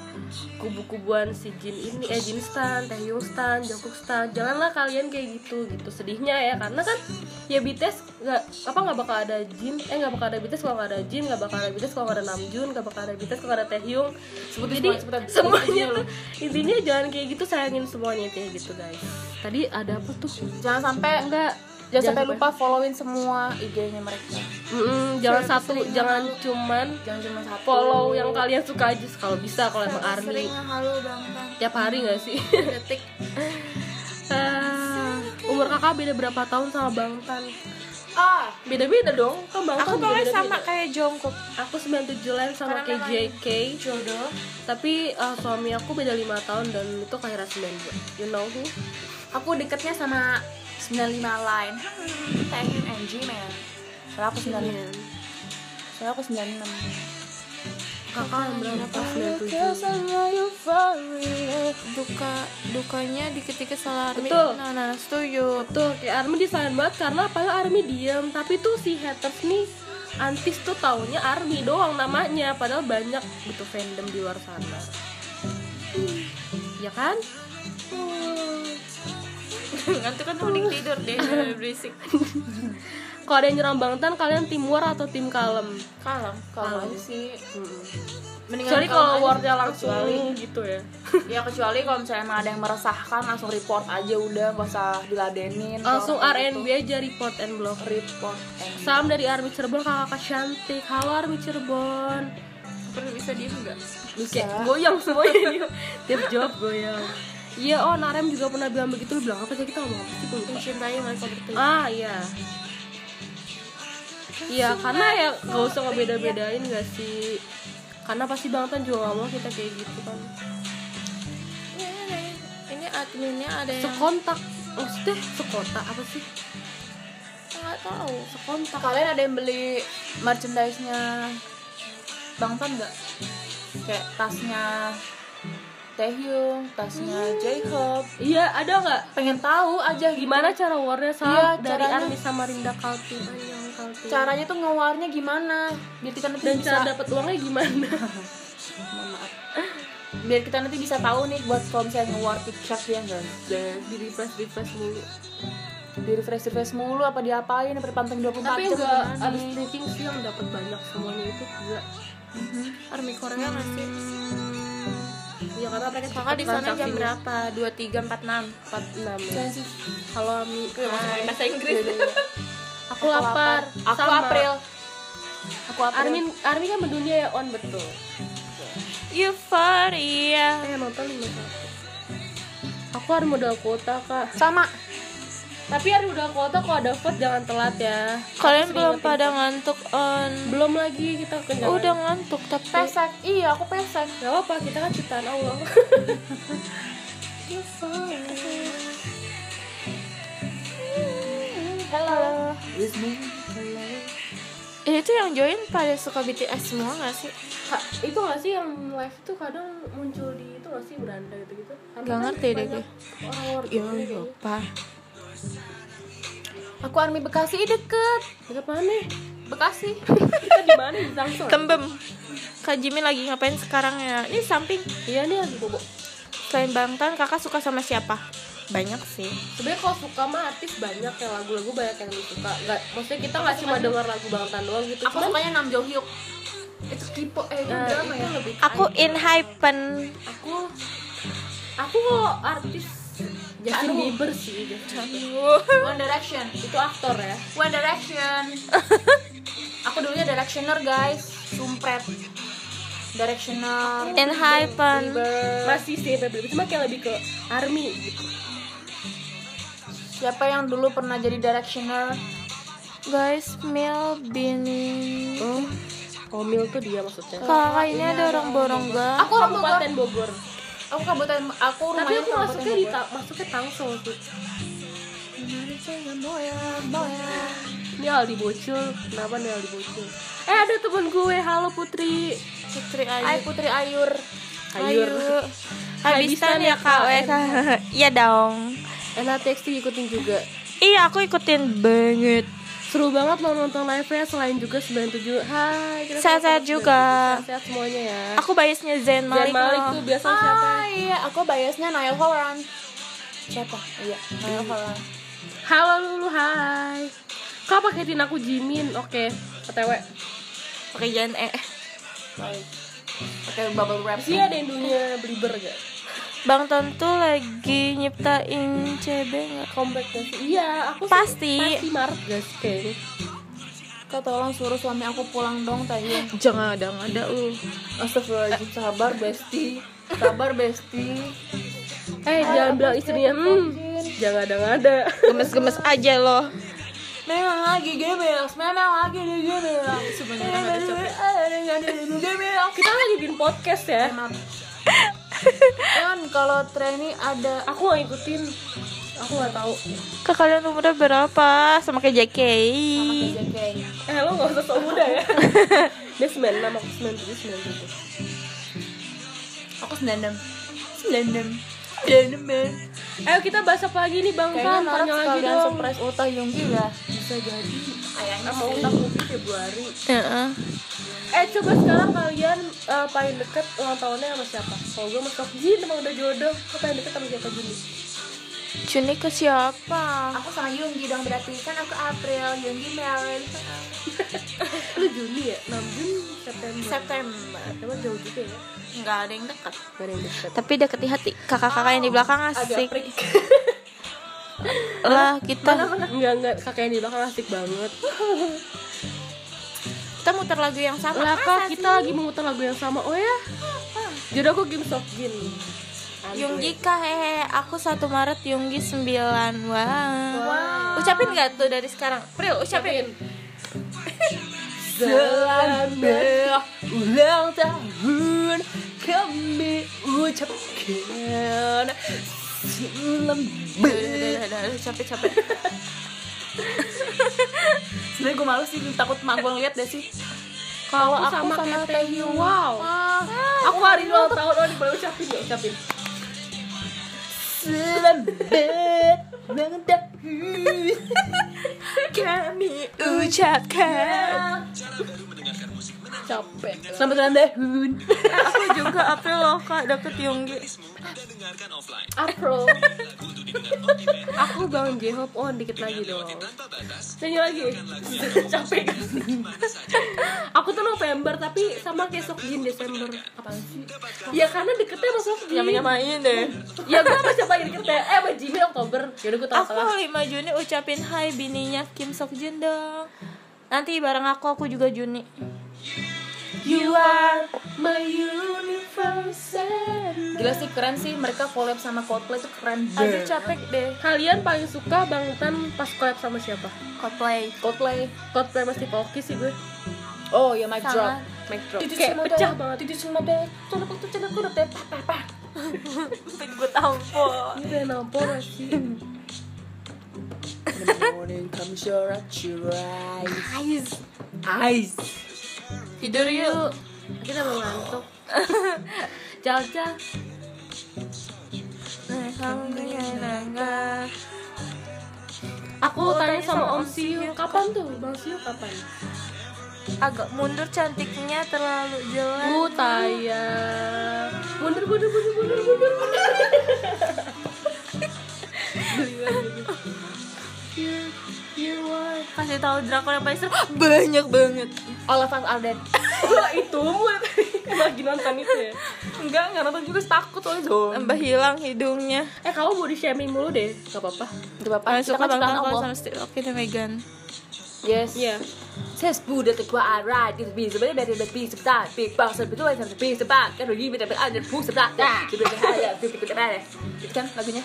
[SPEAKER 2] kubu-kubuan si Jin ini eh Jin Stan, Taehyung Stan, Jungkook Stan janganlah kalian kayak gitu gitu sedihnya ya karena kan ya BTS nggak apa nggak bakal ada Jin eh nggak bakal ada BTS kalau nggak ada Jin nggak bakal ada BTS kalau nggak ada Namjoon nggak bakal ada BTS kalau nggak ada Taehyung
[SPEAKER 3] Sebutin
[SPEAKER 2] jadi
[SPEAKER 3] semua, sebutin.
[SPEAKER 2] semuanya tuh intinya jangan kayak gitu sayangin semuanya kayak gitu guys tadi ada apa tuh
[SPEAKER 3] jangan sampai
[SPEAKER 2] enggak
[SPEAKER 3] jangan, sampai lupa followin semua IG-nya mereka
[SPEAKER 2] jangan satu jangan cuman
[SPEAKER 3] jangan cuma satu
[SPEAKER 2] follow yang kalian suka aja kalau bisa kalau emang army
[SPEAKER 1] halu banget.
[SPEAKER 2] tiap hari nggak sih
[SPEAKER 1] Detik.
[SPEAKER 2] Ah, umur kakak beda berapa tahun sama bang tan
[SPEAKER 1] oh
[SPEAKER 2] Beda-beda dong, kan Bangtan
[SPEAKER 1] aku pokoknya
[SPEAKER 2] beda-beda.
[SPEAKER 1] sama kayak Jongkook
[SPEAKER 2] Aku 97 lain sama
[SPEAKER 1] Karena
[SPEAKER 2] kayak JK.
[SPEAKER 1] jodoh
[SPEAKER 2] Tapi eh, suami aku beda 5 tahun dan itu kelahiran 92. You know who?
[SPEAKER 3] Aku deketnya sama 95 Line. Hmm, Thank you NG man. Soalnya aku
[SPEAKER 1] Iya.
[SPEAKER 3] 95. Soalnya aku 96.
[SPEAKER 2] Kakak yang
[SPEAKER 1] Iya.
[SPEAKER 2] berapa? 97.
[SPEAKER 1] sama euforia duka dukanya dikit-dikit salah
[SPEAKER 2] Betul.
[SPEAKER 1] nah nah setuju
[SPEAKER 2] Tuh, kayak Army disayang banget karena padahal Army diem Tapi tuh si haters nih Antis tuh taunya Army doang namanya Padahal banyak gitu fandom di luar sana Ya kan?
[SPEAKER 1] ngantuk kan mending tidur deh jangan berisik
[SPEAKER 2] Kalau ada yang nyerang Bangtan, kalian tim war atau tim kalem?
[SPEAKER 1] kalem
[SPEAKER 2] Kalem.
[SPEAKER 1] aja sih
[SPEAKER 2] Mm-mm.
[SPEAKER 3] Mendingan
[SPEAKER 2] Kecuali kalau
[SPEAKER 3] aja.
[SPEAKER 2] warnya langsung
[SPEAKER 3] Kecuali.
[SPEAKER 2] gitu ya
[SPEAKER 3] ya kecuali kalau misalnya emang ada yang meresahkan langsung report aja udah nggak usah diladenin
[SPEAKER 2] Langsung
[SPEAKER 3] Kalau
[SPEAKER 2] RNB
[SPEAKER 3] gitu,
[SPEAKER 2] aja report and block
[SPEAKER 3] report
[SPEAKER 1] eh.
[SPEAKER 3] and
[SPEAKER 2] Salam dari Army Cirebon, kakak cantik Halo Army Cirebon
[SPEAKER 1] perlu bisa diem nggak
[SPEAKER 2] Lu kayak goyang semuanya Tiap jawab goyang Iya, oh Narem juga pernah bilang begitu Lu bilang apa sih? Kita ngomong apa sih? Gua lupa.
[SPEAKER 1] mencintai mereka bertiga
[SPEAKER 2] Ah iya. Iya karena ya gak usah ngebeda-bedain gak sih Karena pasti Bangtan juga gak mau kita kayak gitu kan
[SPEAKER 1] Iya, ini adminnya ada yang
[SPEAKER 2] Sekontak Maksudnya sekotak apa sih?
[SPEAKER 1] nggak tahu
[SPEAKER 2] Sekontak
[SPEAKER 3] kalian ada yang beli merchandise nya Bangtan nggak kayak tasnya Taehyung tasnya J-Hope
[SPEAKER 2] Iya ada gak?
[SPEAKER 3] pengen tahu aja
[SPEAKER 2] Gimana
[SPEAKER 3] gimana
[SPEAKER 2] cara warnya
[SPEAKER 3] Iya,
[SPEAKER 2] salah dari
[SPEAKER 3] caranya.
[SPEAKER 2] Army sama Rinda Kalti Anyang Kalti.
[SPEAKER 3] caranya tuh ngewarnya gimana biar kita nanti
[SPEAKER 2] Dan
[SPEAKER 3] bisa
[SPEAKER 2] cara dapat uangnya gimana?
[SPEAKER 3] Mohon maaf. biar kita nanti bisa tahu nih buat kalau misalnya nge-war TikTok ya nggak
[SPEAKER 2] Di refresh refresh dulu
[SPEAKER 3] di refresh refresh mulu apa diapain apa dipamping
[SPEAKER 2] Tapi
[SPEAKER 3] 24 jam
[SPEAKER 2] enggak
[SPEAKER 3] gimana
[SPEAKER 2] abis
[SPEAKER 3] nih?
[SPEAKER 2] briefing sih yang dapat banyak semuanya itu juga
[SPEAKER 1] army Korea masih
[SPEAKER 2] Iya karena mereka
[SPEAKER 1] kakak di sana jam
[SPEAKER 2] transaksinya
[SPEAKER 1] berapa dua tiga empat enam
[SPEAKER 2] 46 ya. Kalau Ami Iya,
[SPEAKER 1] bahasa Inggris
[SPEAKER 2] Aku lapar.
[SPEAKER 3] aku
[SPEAKER 2] Sama.
[SPEAKER 3] April aku April
[SPEAKER 2] Armin Armin kan mendunia ya on betul.
[SPEAKER 1] euforia
[SPEAKER 2] Eh nonton lima satu. Aku harus modal kuota kak.
[SPEAKER 3] sama
[SPEAKER 2] Tapi harus modal kuota kalau ada vote jangan telat ya.
[SPEAKER 1] kalian belum pada ngantuk on
[SPEAKER 2] Belum lagi kita kenyalan.
[SPEAKER 1] udah ngantuk tapi
[SPEAKER 3] pesek iya aku pesek
[SPEAKER 2] Gak apa kita kan ciptaan Allah.
[SPEAKER 3] hello
[SPEAKER 1] Eh, itu yang join pada suka BTS semua gak sih?
[SPEAKER 2] Kak, itu gak sih yang live tuh kadang muncul di itu gak sih beranda gitu gitu.
[SPEAKER 1] Gak ngerti deh gue. Iya,
[SPEAKER 2] Orang-orang gitu.
[SPEAKER 1] Yo
[SPEAKER 2] iya.
[SPEAKER 1] yo pa.
[SPEAKER 3] aku Army Bekasi ih deket
[SPEAKER 2] Kita mana?
[SPEAKER 3] Bekasi
[SPEAKER 2] Kita di mana di Tangsel?
[SPEAKER 1] Tembem. Kak Jimin lagi ngapain sekarang ya? Ini samping.
[SPEAKER 2] Iya nih lagi bobo.
[SPEAKER 1] Selain Bangtan, kakak suka sama siapa? Banyak sih.
[SPEAKER 2] sebenarnya kalau suka mah artis banyak yang lagu-lagu banyak yang suka nggak maksudnya kita nggak cuma denger lagu bangtan doang gitu
[SPEAKER 3] aku
[SPEAKER 2] cuman
[SPEAKER 3] sukanya Nam Jo Hyuk itu kipo eh itu
[SPEAKER 2] Nah,
[SPEAKER 3] drama
[SPEAKER 2] itu
[SPEAKER 3] ya
[SPEAKER 2] lebih
[SPEAKER 1] Aku in hypen.
[SPEAKER 2] aku aku kalau artis Justin
[SPEAKER 3] Aduh.
[SPEAKER 2] Bieber sih Justin Bieber.
[SPEAKER 3] One Direction
[SPEAKER 2] itu aktor ya
[SPEAKER 3] One Direction aku dulunya directioner guys sumpret directioner
[SPEAKER 1] In hypen.
[SPEAKER 2] masih sih Bieber cuma kayak lebih ke army gitu
[SPEAKER 3] siapa yang dulu pernah jadi directioner
[SPEAKER 1] Guys, Mil Bini.
[SPEAKER 2] oh Omil tuh dia maksudnya
[SPEAKER 1] Kakak ini ada orang Borongga.
[SPEAKER 3] aku orang Bogor
[SPEAKER 2] Kabupaten Bogor
[SPEAKER 3] aku kabupaten aku rumahnya
[SPEAKER 2] tapi aku
[SPEAKER 3] kabupaten
[SPEAKER 2] masuknya di
[SPEAKER 3] Bogor.
[SPEAKER 2] ta- masuknya Tangsel sih
[SPEAKER 1] Aku
[SPEAKER 2] ini Aldi Bocil kenapa nih Aldi Bocil eh ada temen gue halo Putri
[SPEAKER 1] Putri
[SPEAKER 3] Hai
[SPEAKER 1] Ayu.
[SPEAKER 3] Putri Ayur
[SPEAKER 1] Ayu. Habisan ya Kak Wes. Iya dong.
[SPEAKER 2] NHTXT ikutin juga
[SPEAKER 1] Iya, aku ikutin banget.
[SPEAKER 2] Seru banget lo nonton live-nya selain juga 97 Hai kita
[SPEAKER 1] Sehat-sehat
[SPEAKER 2] sama-sama
[SPEAKER 1] juga.
[SPEAKER 2] 97. Sehat-sehat semuanya ya
[SPEAKER 1] Aku biasnya Zain
[SPEAKER 2] Dan
[SPEAKER 1] Malik.
[SPEAKER 2] Malik
[SPEAKER 1] loh.
[SPEAKER 2] tuh biasa siapa?
[SPEAKER 3] Ah iya, aku biasnya Niall Horan. Siapa? Iya, Niall Horan.
[SPEAKER 2] Halo Lulu, hai Kau paketin aku Jimin, oke OTW
[SPEAKER 1] Pakai jangan eh.
[SPEAKER 3] Baik. Pakai bubble wrap.
[SPEAKER 2] Sih ada Indonya Belieber gak?
[SPEAKER 1] Bang Ton tuh lagi nyiptain CB nggak?
[SPEAKER 2] Comeback gak sih? Iya, aku sih
[SPEAKER 1] Pasti.
[SPEAKER 2] Pasti Maret gak sih kayaknya
[SPEAKER 3] Kau tolong suruh suami aku pulang dong tadi.
[SPEAKER 1] Jangan ada nggak ada lu.
[SPEAKER 3] Astagfirullahaladzim, sabar besti. Sabar besti.
[SPEAKER 2] Eh, jangan bilang istrinya, hmm Jangan ada-ada
[SPEAKER 1] Gemes-gemes aja loh.
[SPEAKER 3] Memang lagi gebeos, memang lagi di gebeos. Sebenarnya nggak ada capek.
[SPEAKER 2] Kita kan lagi bikin podcast ya.
[SPEAKER 3] Kan kalau trainee ada
[SPEAKER 2] Aku nggak ngikutin. Aku nggak tahu.
[SPEAKER 1] Ke kalian umurnya berapa? Sama kayak JK.
[SPEAKER 3] JK.
[SPEAKER 2] Eh lo nggak usah sok muda ya. Dia 96 aku 97
[SPEAKER 3] Aku 96. 96. 96 men.
[SPEAKER 2] 97. Ayo kita bahas apa lagi nih Bang
[SPEAKER 3] Kayaknya
[SPEAKER 2] Tan?
[SPEAKER 3] ntar
[SPEAKER 2] Tanya lagi
[SPEAKER 3] sekalian
[SPEAKER 2] dong.
[SPEAKER 3] surprise Ulta Yonggi ya.
[SPEAKER 2] Bisa jadi.
[SPEAKER 3] Kayaknya
[SPEAKER 2] Apa utang mungkin Februari?
[SPEAKER 1] Heeh.
[SPEAKER 2] Eh coba sekarang kalian eh, paling deket ulang tahunnya sama siapa? Kalau gue sama Kak Jin emang udah jodoh Gue paling deket sama siapa Jin?
[SPEAKER 1] Juni ke siapa?
[SPEAKER 3] Aku sama Yonggi dong berarti kan aku April, Yonggi Maret,
[SPEAKER 2] Lu Juni ya? 6 Juni September
[SPEAKER 3] September.
[SPEAKER 2] Emang jauh juga ya?
[SPEAKER 3] Enggak ada yang dekat.
[SPEAKER 2] Gak ada yang deket
[SPEAKER 1] Tapi deket di hati. Kakak-kakak yang di belakang
[SPEAKER 2] Agak
[SPEAKER 1] asik.
[SPEAKER 2] prik
[SPEAKER 1] Lah kita
[SPEAKER 2] Enggak, enggak, kakak yang di belakang kan asik banget
[SPEAKER 1] kita muter lagu yang sama.
[SPEAKER 2] Lah kak, kita lagi memutar lagu yang sama, oh ya? Jodoh aku Kim Sok Jin
[SPEAKER 1] Yunggi kah hehe aku 1 Maret Yunggi 9 wow. ucapin nggak tuh dari sekarang Pril
[SPEAKER 2] ya?
[SPEAKER 1] ucapin
[SPEAKER 2] Selamat ulang tahun kami ucapkan Selamat
[SPEAKER 3] capek capek sebenarnya gue malu sih takut manggung lihat deh sih kalau aku sama,
[SPEAKER 2] kayak
[SPEAKER 3] Teh Yu,
[SPEAKER 2] Wow.
[SPEAKER 1] Oh.
[SPEAKER 2] Aku hari ini ulang tahun, oh ini boleh ucapin ya, ucapin.
[SPEAKER 1] kami ucapkan
[SPEAKER 2] Capek. Selamat ulang tahun.
[SPEAKER 1] aku juga April loh kak deket Yunggi
[SPEAKER 2] April. Aku bangun J-Hope on dikit lagi dong. Nyanyi lagi. Capek. Aku tuh November tapi sama kayak Sokjin Desember. Apaan sih? Ya karena deketnya sama Sokjin.
[SPEAKER 1] nyamain deh
[SPEAKER 2] Ya gue sama siapa yang deket ya? Eh sama Jimmy Oktober. Yaudah gue
[SPEAKER 1] aku
[SPEAKER 2] tengah-tengah.
[SPEAKER 1] 5 Juni ucapin hai bininya Kim Sok Jin dong nanti bareng aku aku juga Juni
[SPEAKER 2] You are my universe. and
[SPEAKER 3] gila sih keren sih mereka collab sama Coldplay tuh keren
[SPEAKER 1] aduh capek deh
[SPEAKER 2] Kalian paling suka Bang Tan pas collab sama siapa?
[SPEAKER 1] Coldplay
[SPEAKER 2] Coldplay Coldplay pasti Poki sih gue
[SPEAKER 3] oh ya mic
[SPEAKER 1] drop.
[SPEAKER 2] Mic drop Kayak pecah banget
[SPEAKER 3] tidur semua deh cara waktu cara aku udah tepat
[SPEAKER 1] gue tampol
[SPEAKER 2] Ini udah nampol gak sih?
[SPEAKER 1] guys
[SPEAKER 2] Ais
[SPEAKER 1] tidur yuk
[SPEAKER 2] Kita mau ngantuk Jalja Nah,
[SPEAKER 1] Alhamdulillah
[SPEAKER 2] Aku tanya sama Om Siu Kapan tuh? Bang Siu kapan?
[SPEAKER 1] agak mundur cantiknya terlalu jelas
[SPEAKER 2] Ku tanya Mundur, mundur, mundur, mundur, mundur, mundur You, you are
[SPEAKER 1] kasih tahu drakor yang paling seru banyak banget
[SPEAKER 3] all of us are dead
[SPEAKER 2] Wah itu gue tadi lagi nonton itu ya
[SPEAKER 3] enggak enggak nonton juga takut soalnya dong
[SPEAKER 1] tambah hilang hidungnya
[SPEAKER 2] Eh kamu body shaming mulu deh Gak apa-apa
[SPEAKER 3] enggak apa-apa
[SPEAKER 1] paling
[SPEAKER 3] kita
[SPEAKER 1] suka
[SPEAKER 3] kan
[SPEAKER 1] banget
[SPEAKER 3] ciptaan
[SPEAKER 1] kalau
[SPEAKER 3] Allah
[SPEAKER 1] sama Steve Aoki dan Megan
[SPEAKER 3] yes
[SPEAKER 2] Iya
[SPEAKER 3] Saya sepuluh detik gua arah di lebih sebenarnya dari lebih sebentar big bang sebelum itu saya lebih sebentar kan rugi beda beda ada bu sebentar jadi ada ada big big ada itu kan lagunya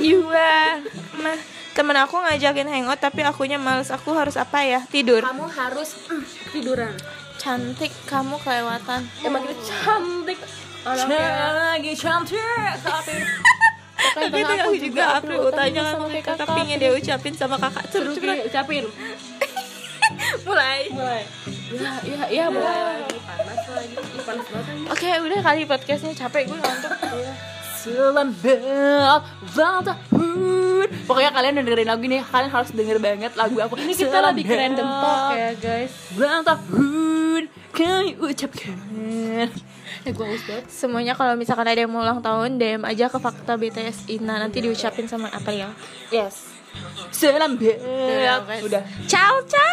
[SPEAKER 1] you are my- Iya. temen aku ngajakin hangout tapi akunya males aku harus apa ya tidur
[SPEAKER 3] kamu harus mm,
[SPEAKER 2] Tiduran
[SPEAKER 1] cantik kamu kelewatan
[SPEAKER 2] Emang kita cantik Anaknya
[SPEAKER 3] lagi cantik tapi
[SPEAKER 1] tapi itu aku juga April utanya kan mereka pingin dia ucapin sama kakak
[SPEAKER 2] Seru
[SPEAKER 1] terus cepet
[SPEAKER 2] ucapin
[SPEAKER 1] mulai
[SPEAKER 2] Mulai Ya,
[SPEAKER 3] Iya,
[SPEAKER 2] ya, ya mulai lagi Panas lagi Ih, panas banget ini.
[SPEAKER 1] oke udah kali podcastnya capek gue ngantuk
[SPEAKER 3] Selembel Valtahun Pokoknya kalian udah dengerin lagu ini Kalian harus denger banget lagu aku
[SPEAKER 2] Ini kita lagi random talk ya guys
[SPEAKER 3] Valtahun Kami ucapkan
[SPEAKER 2] Eh gue haus banget
[SPEAKER 1] semuanya kalau misalkan ada yang mau ulang tahun DM aja ke fakta BTS Ina nanti diucapin sama April
[SPEAKER 3] Yes Selembel
[SPEAKER 2] Iya,
[SPEAKER 1] Udah, guys.
[SPEAKER 3] Iya, Udah
[SPEAKER 1] ciao ciao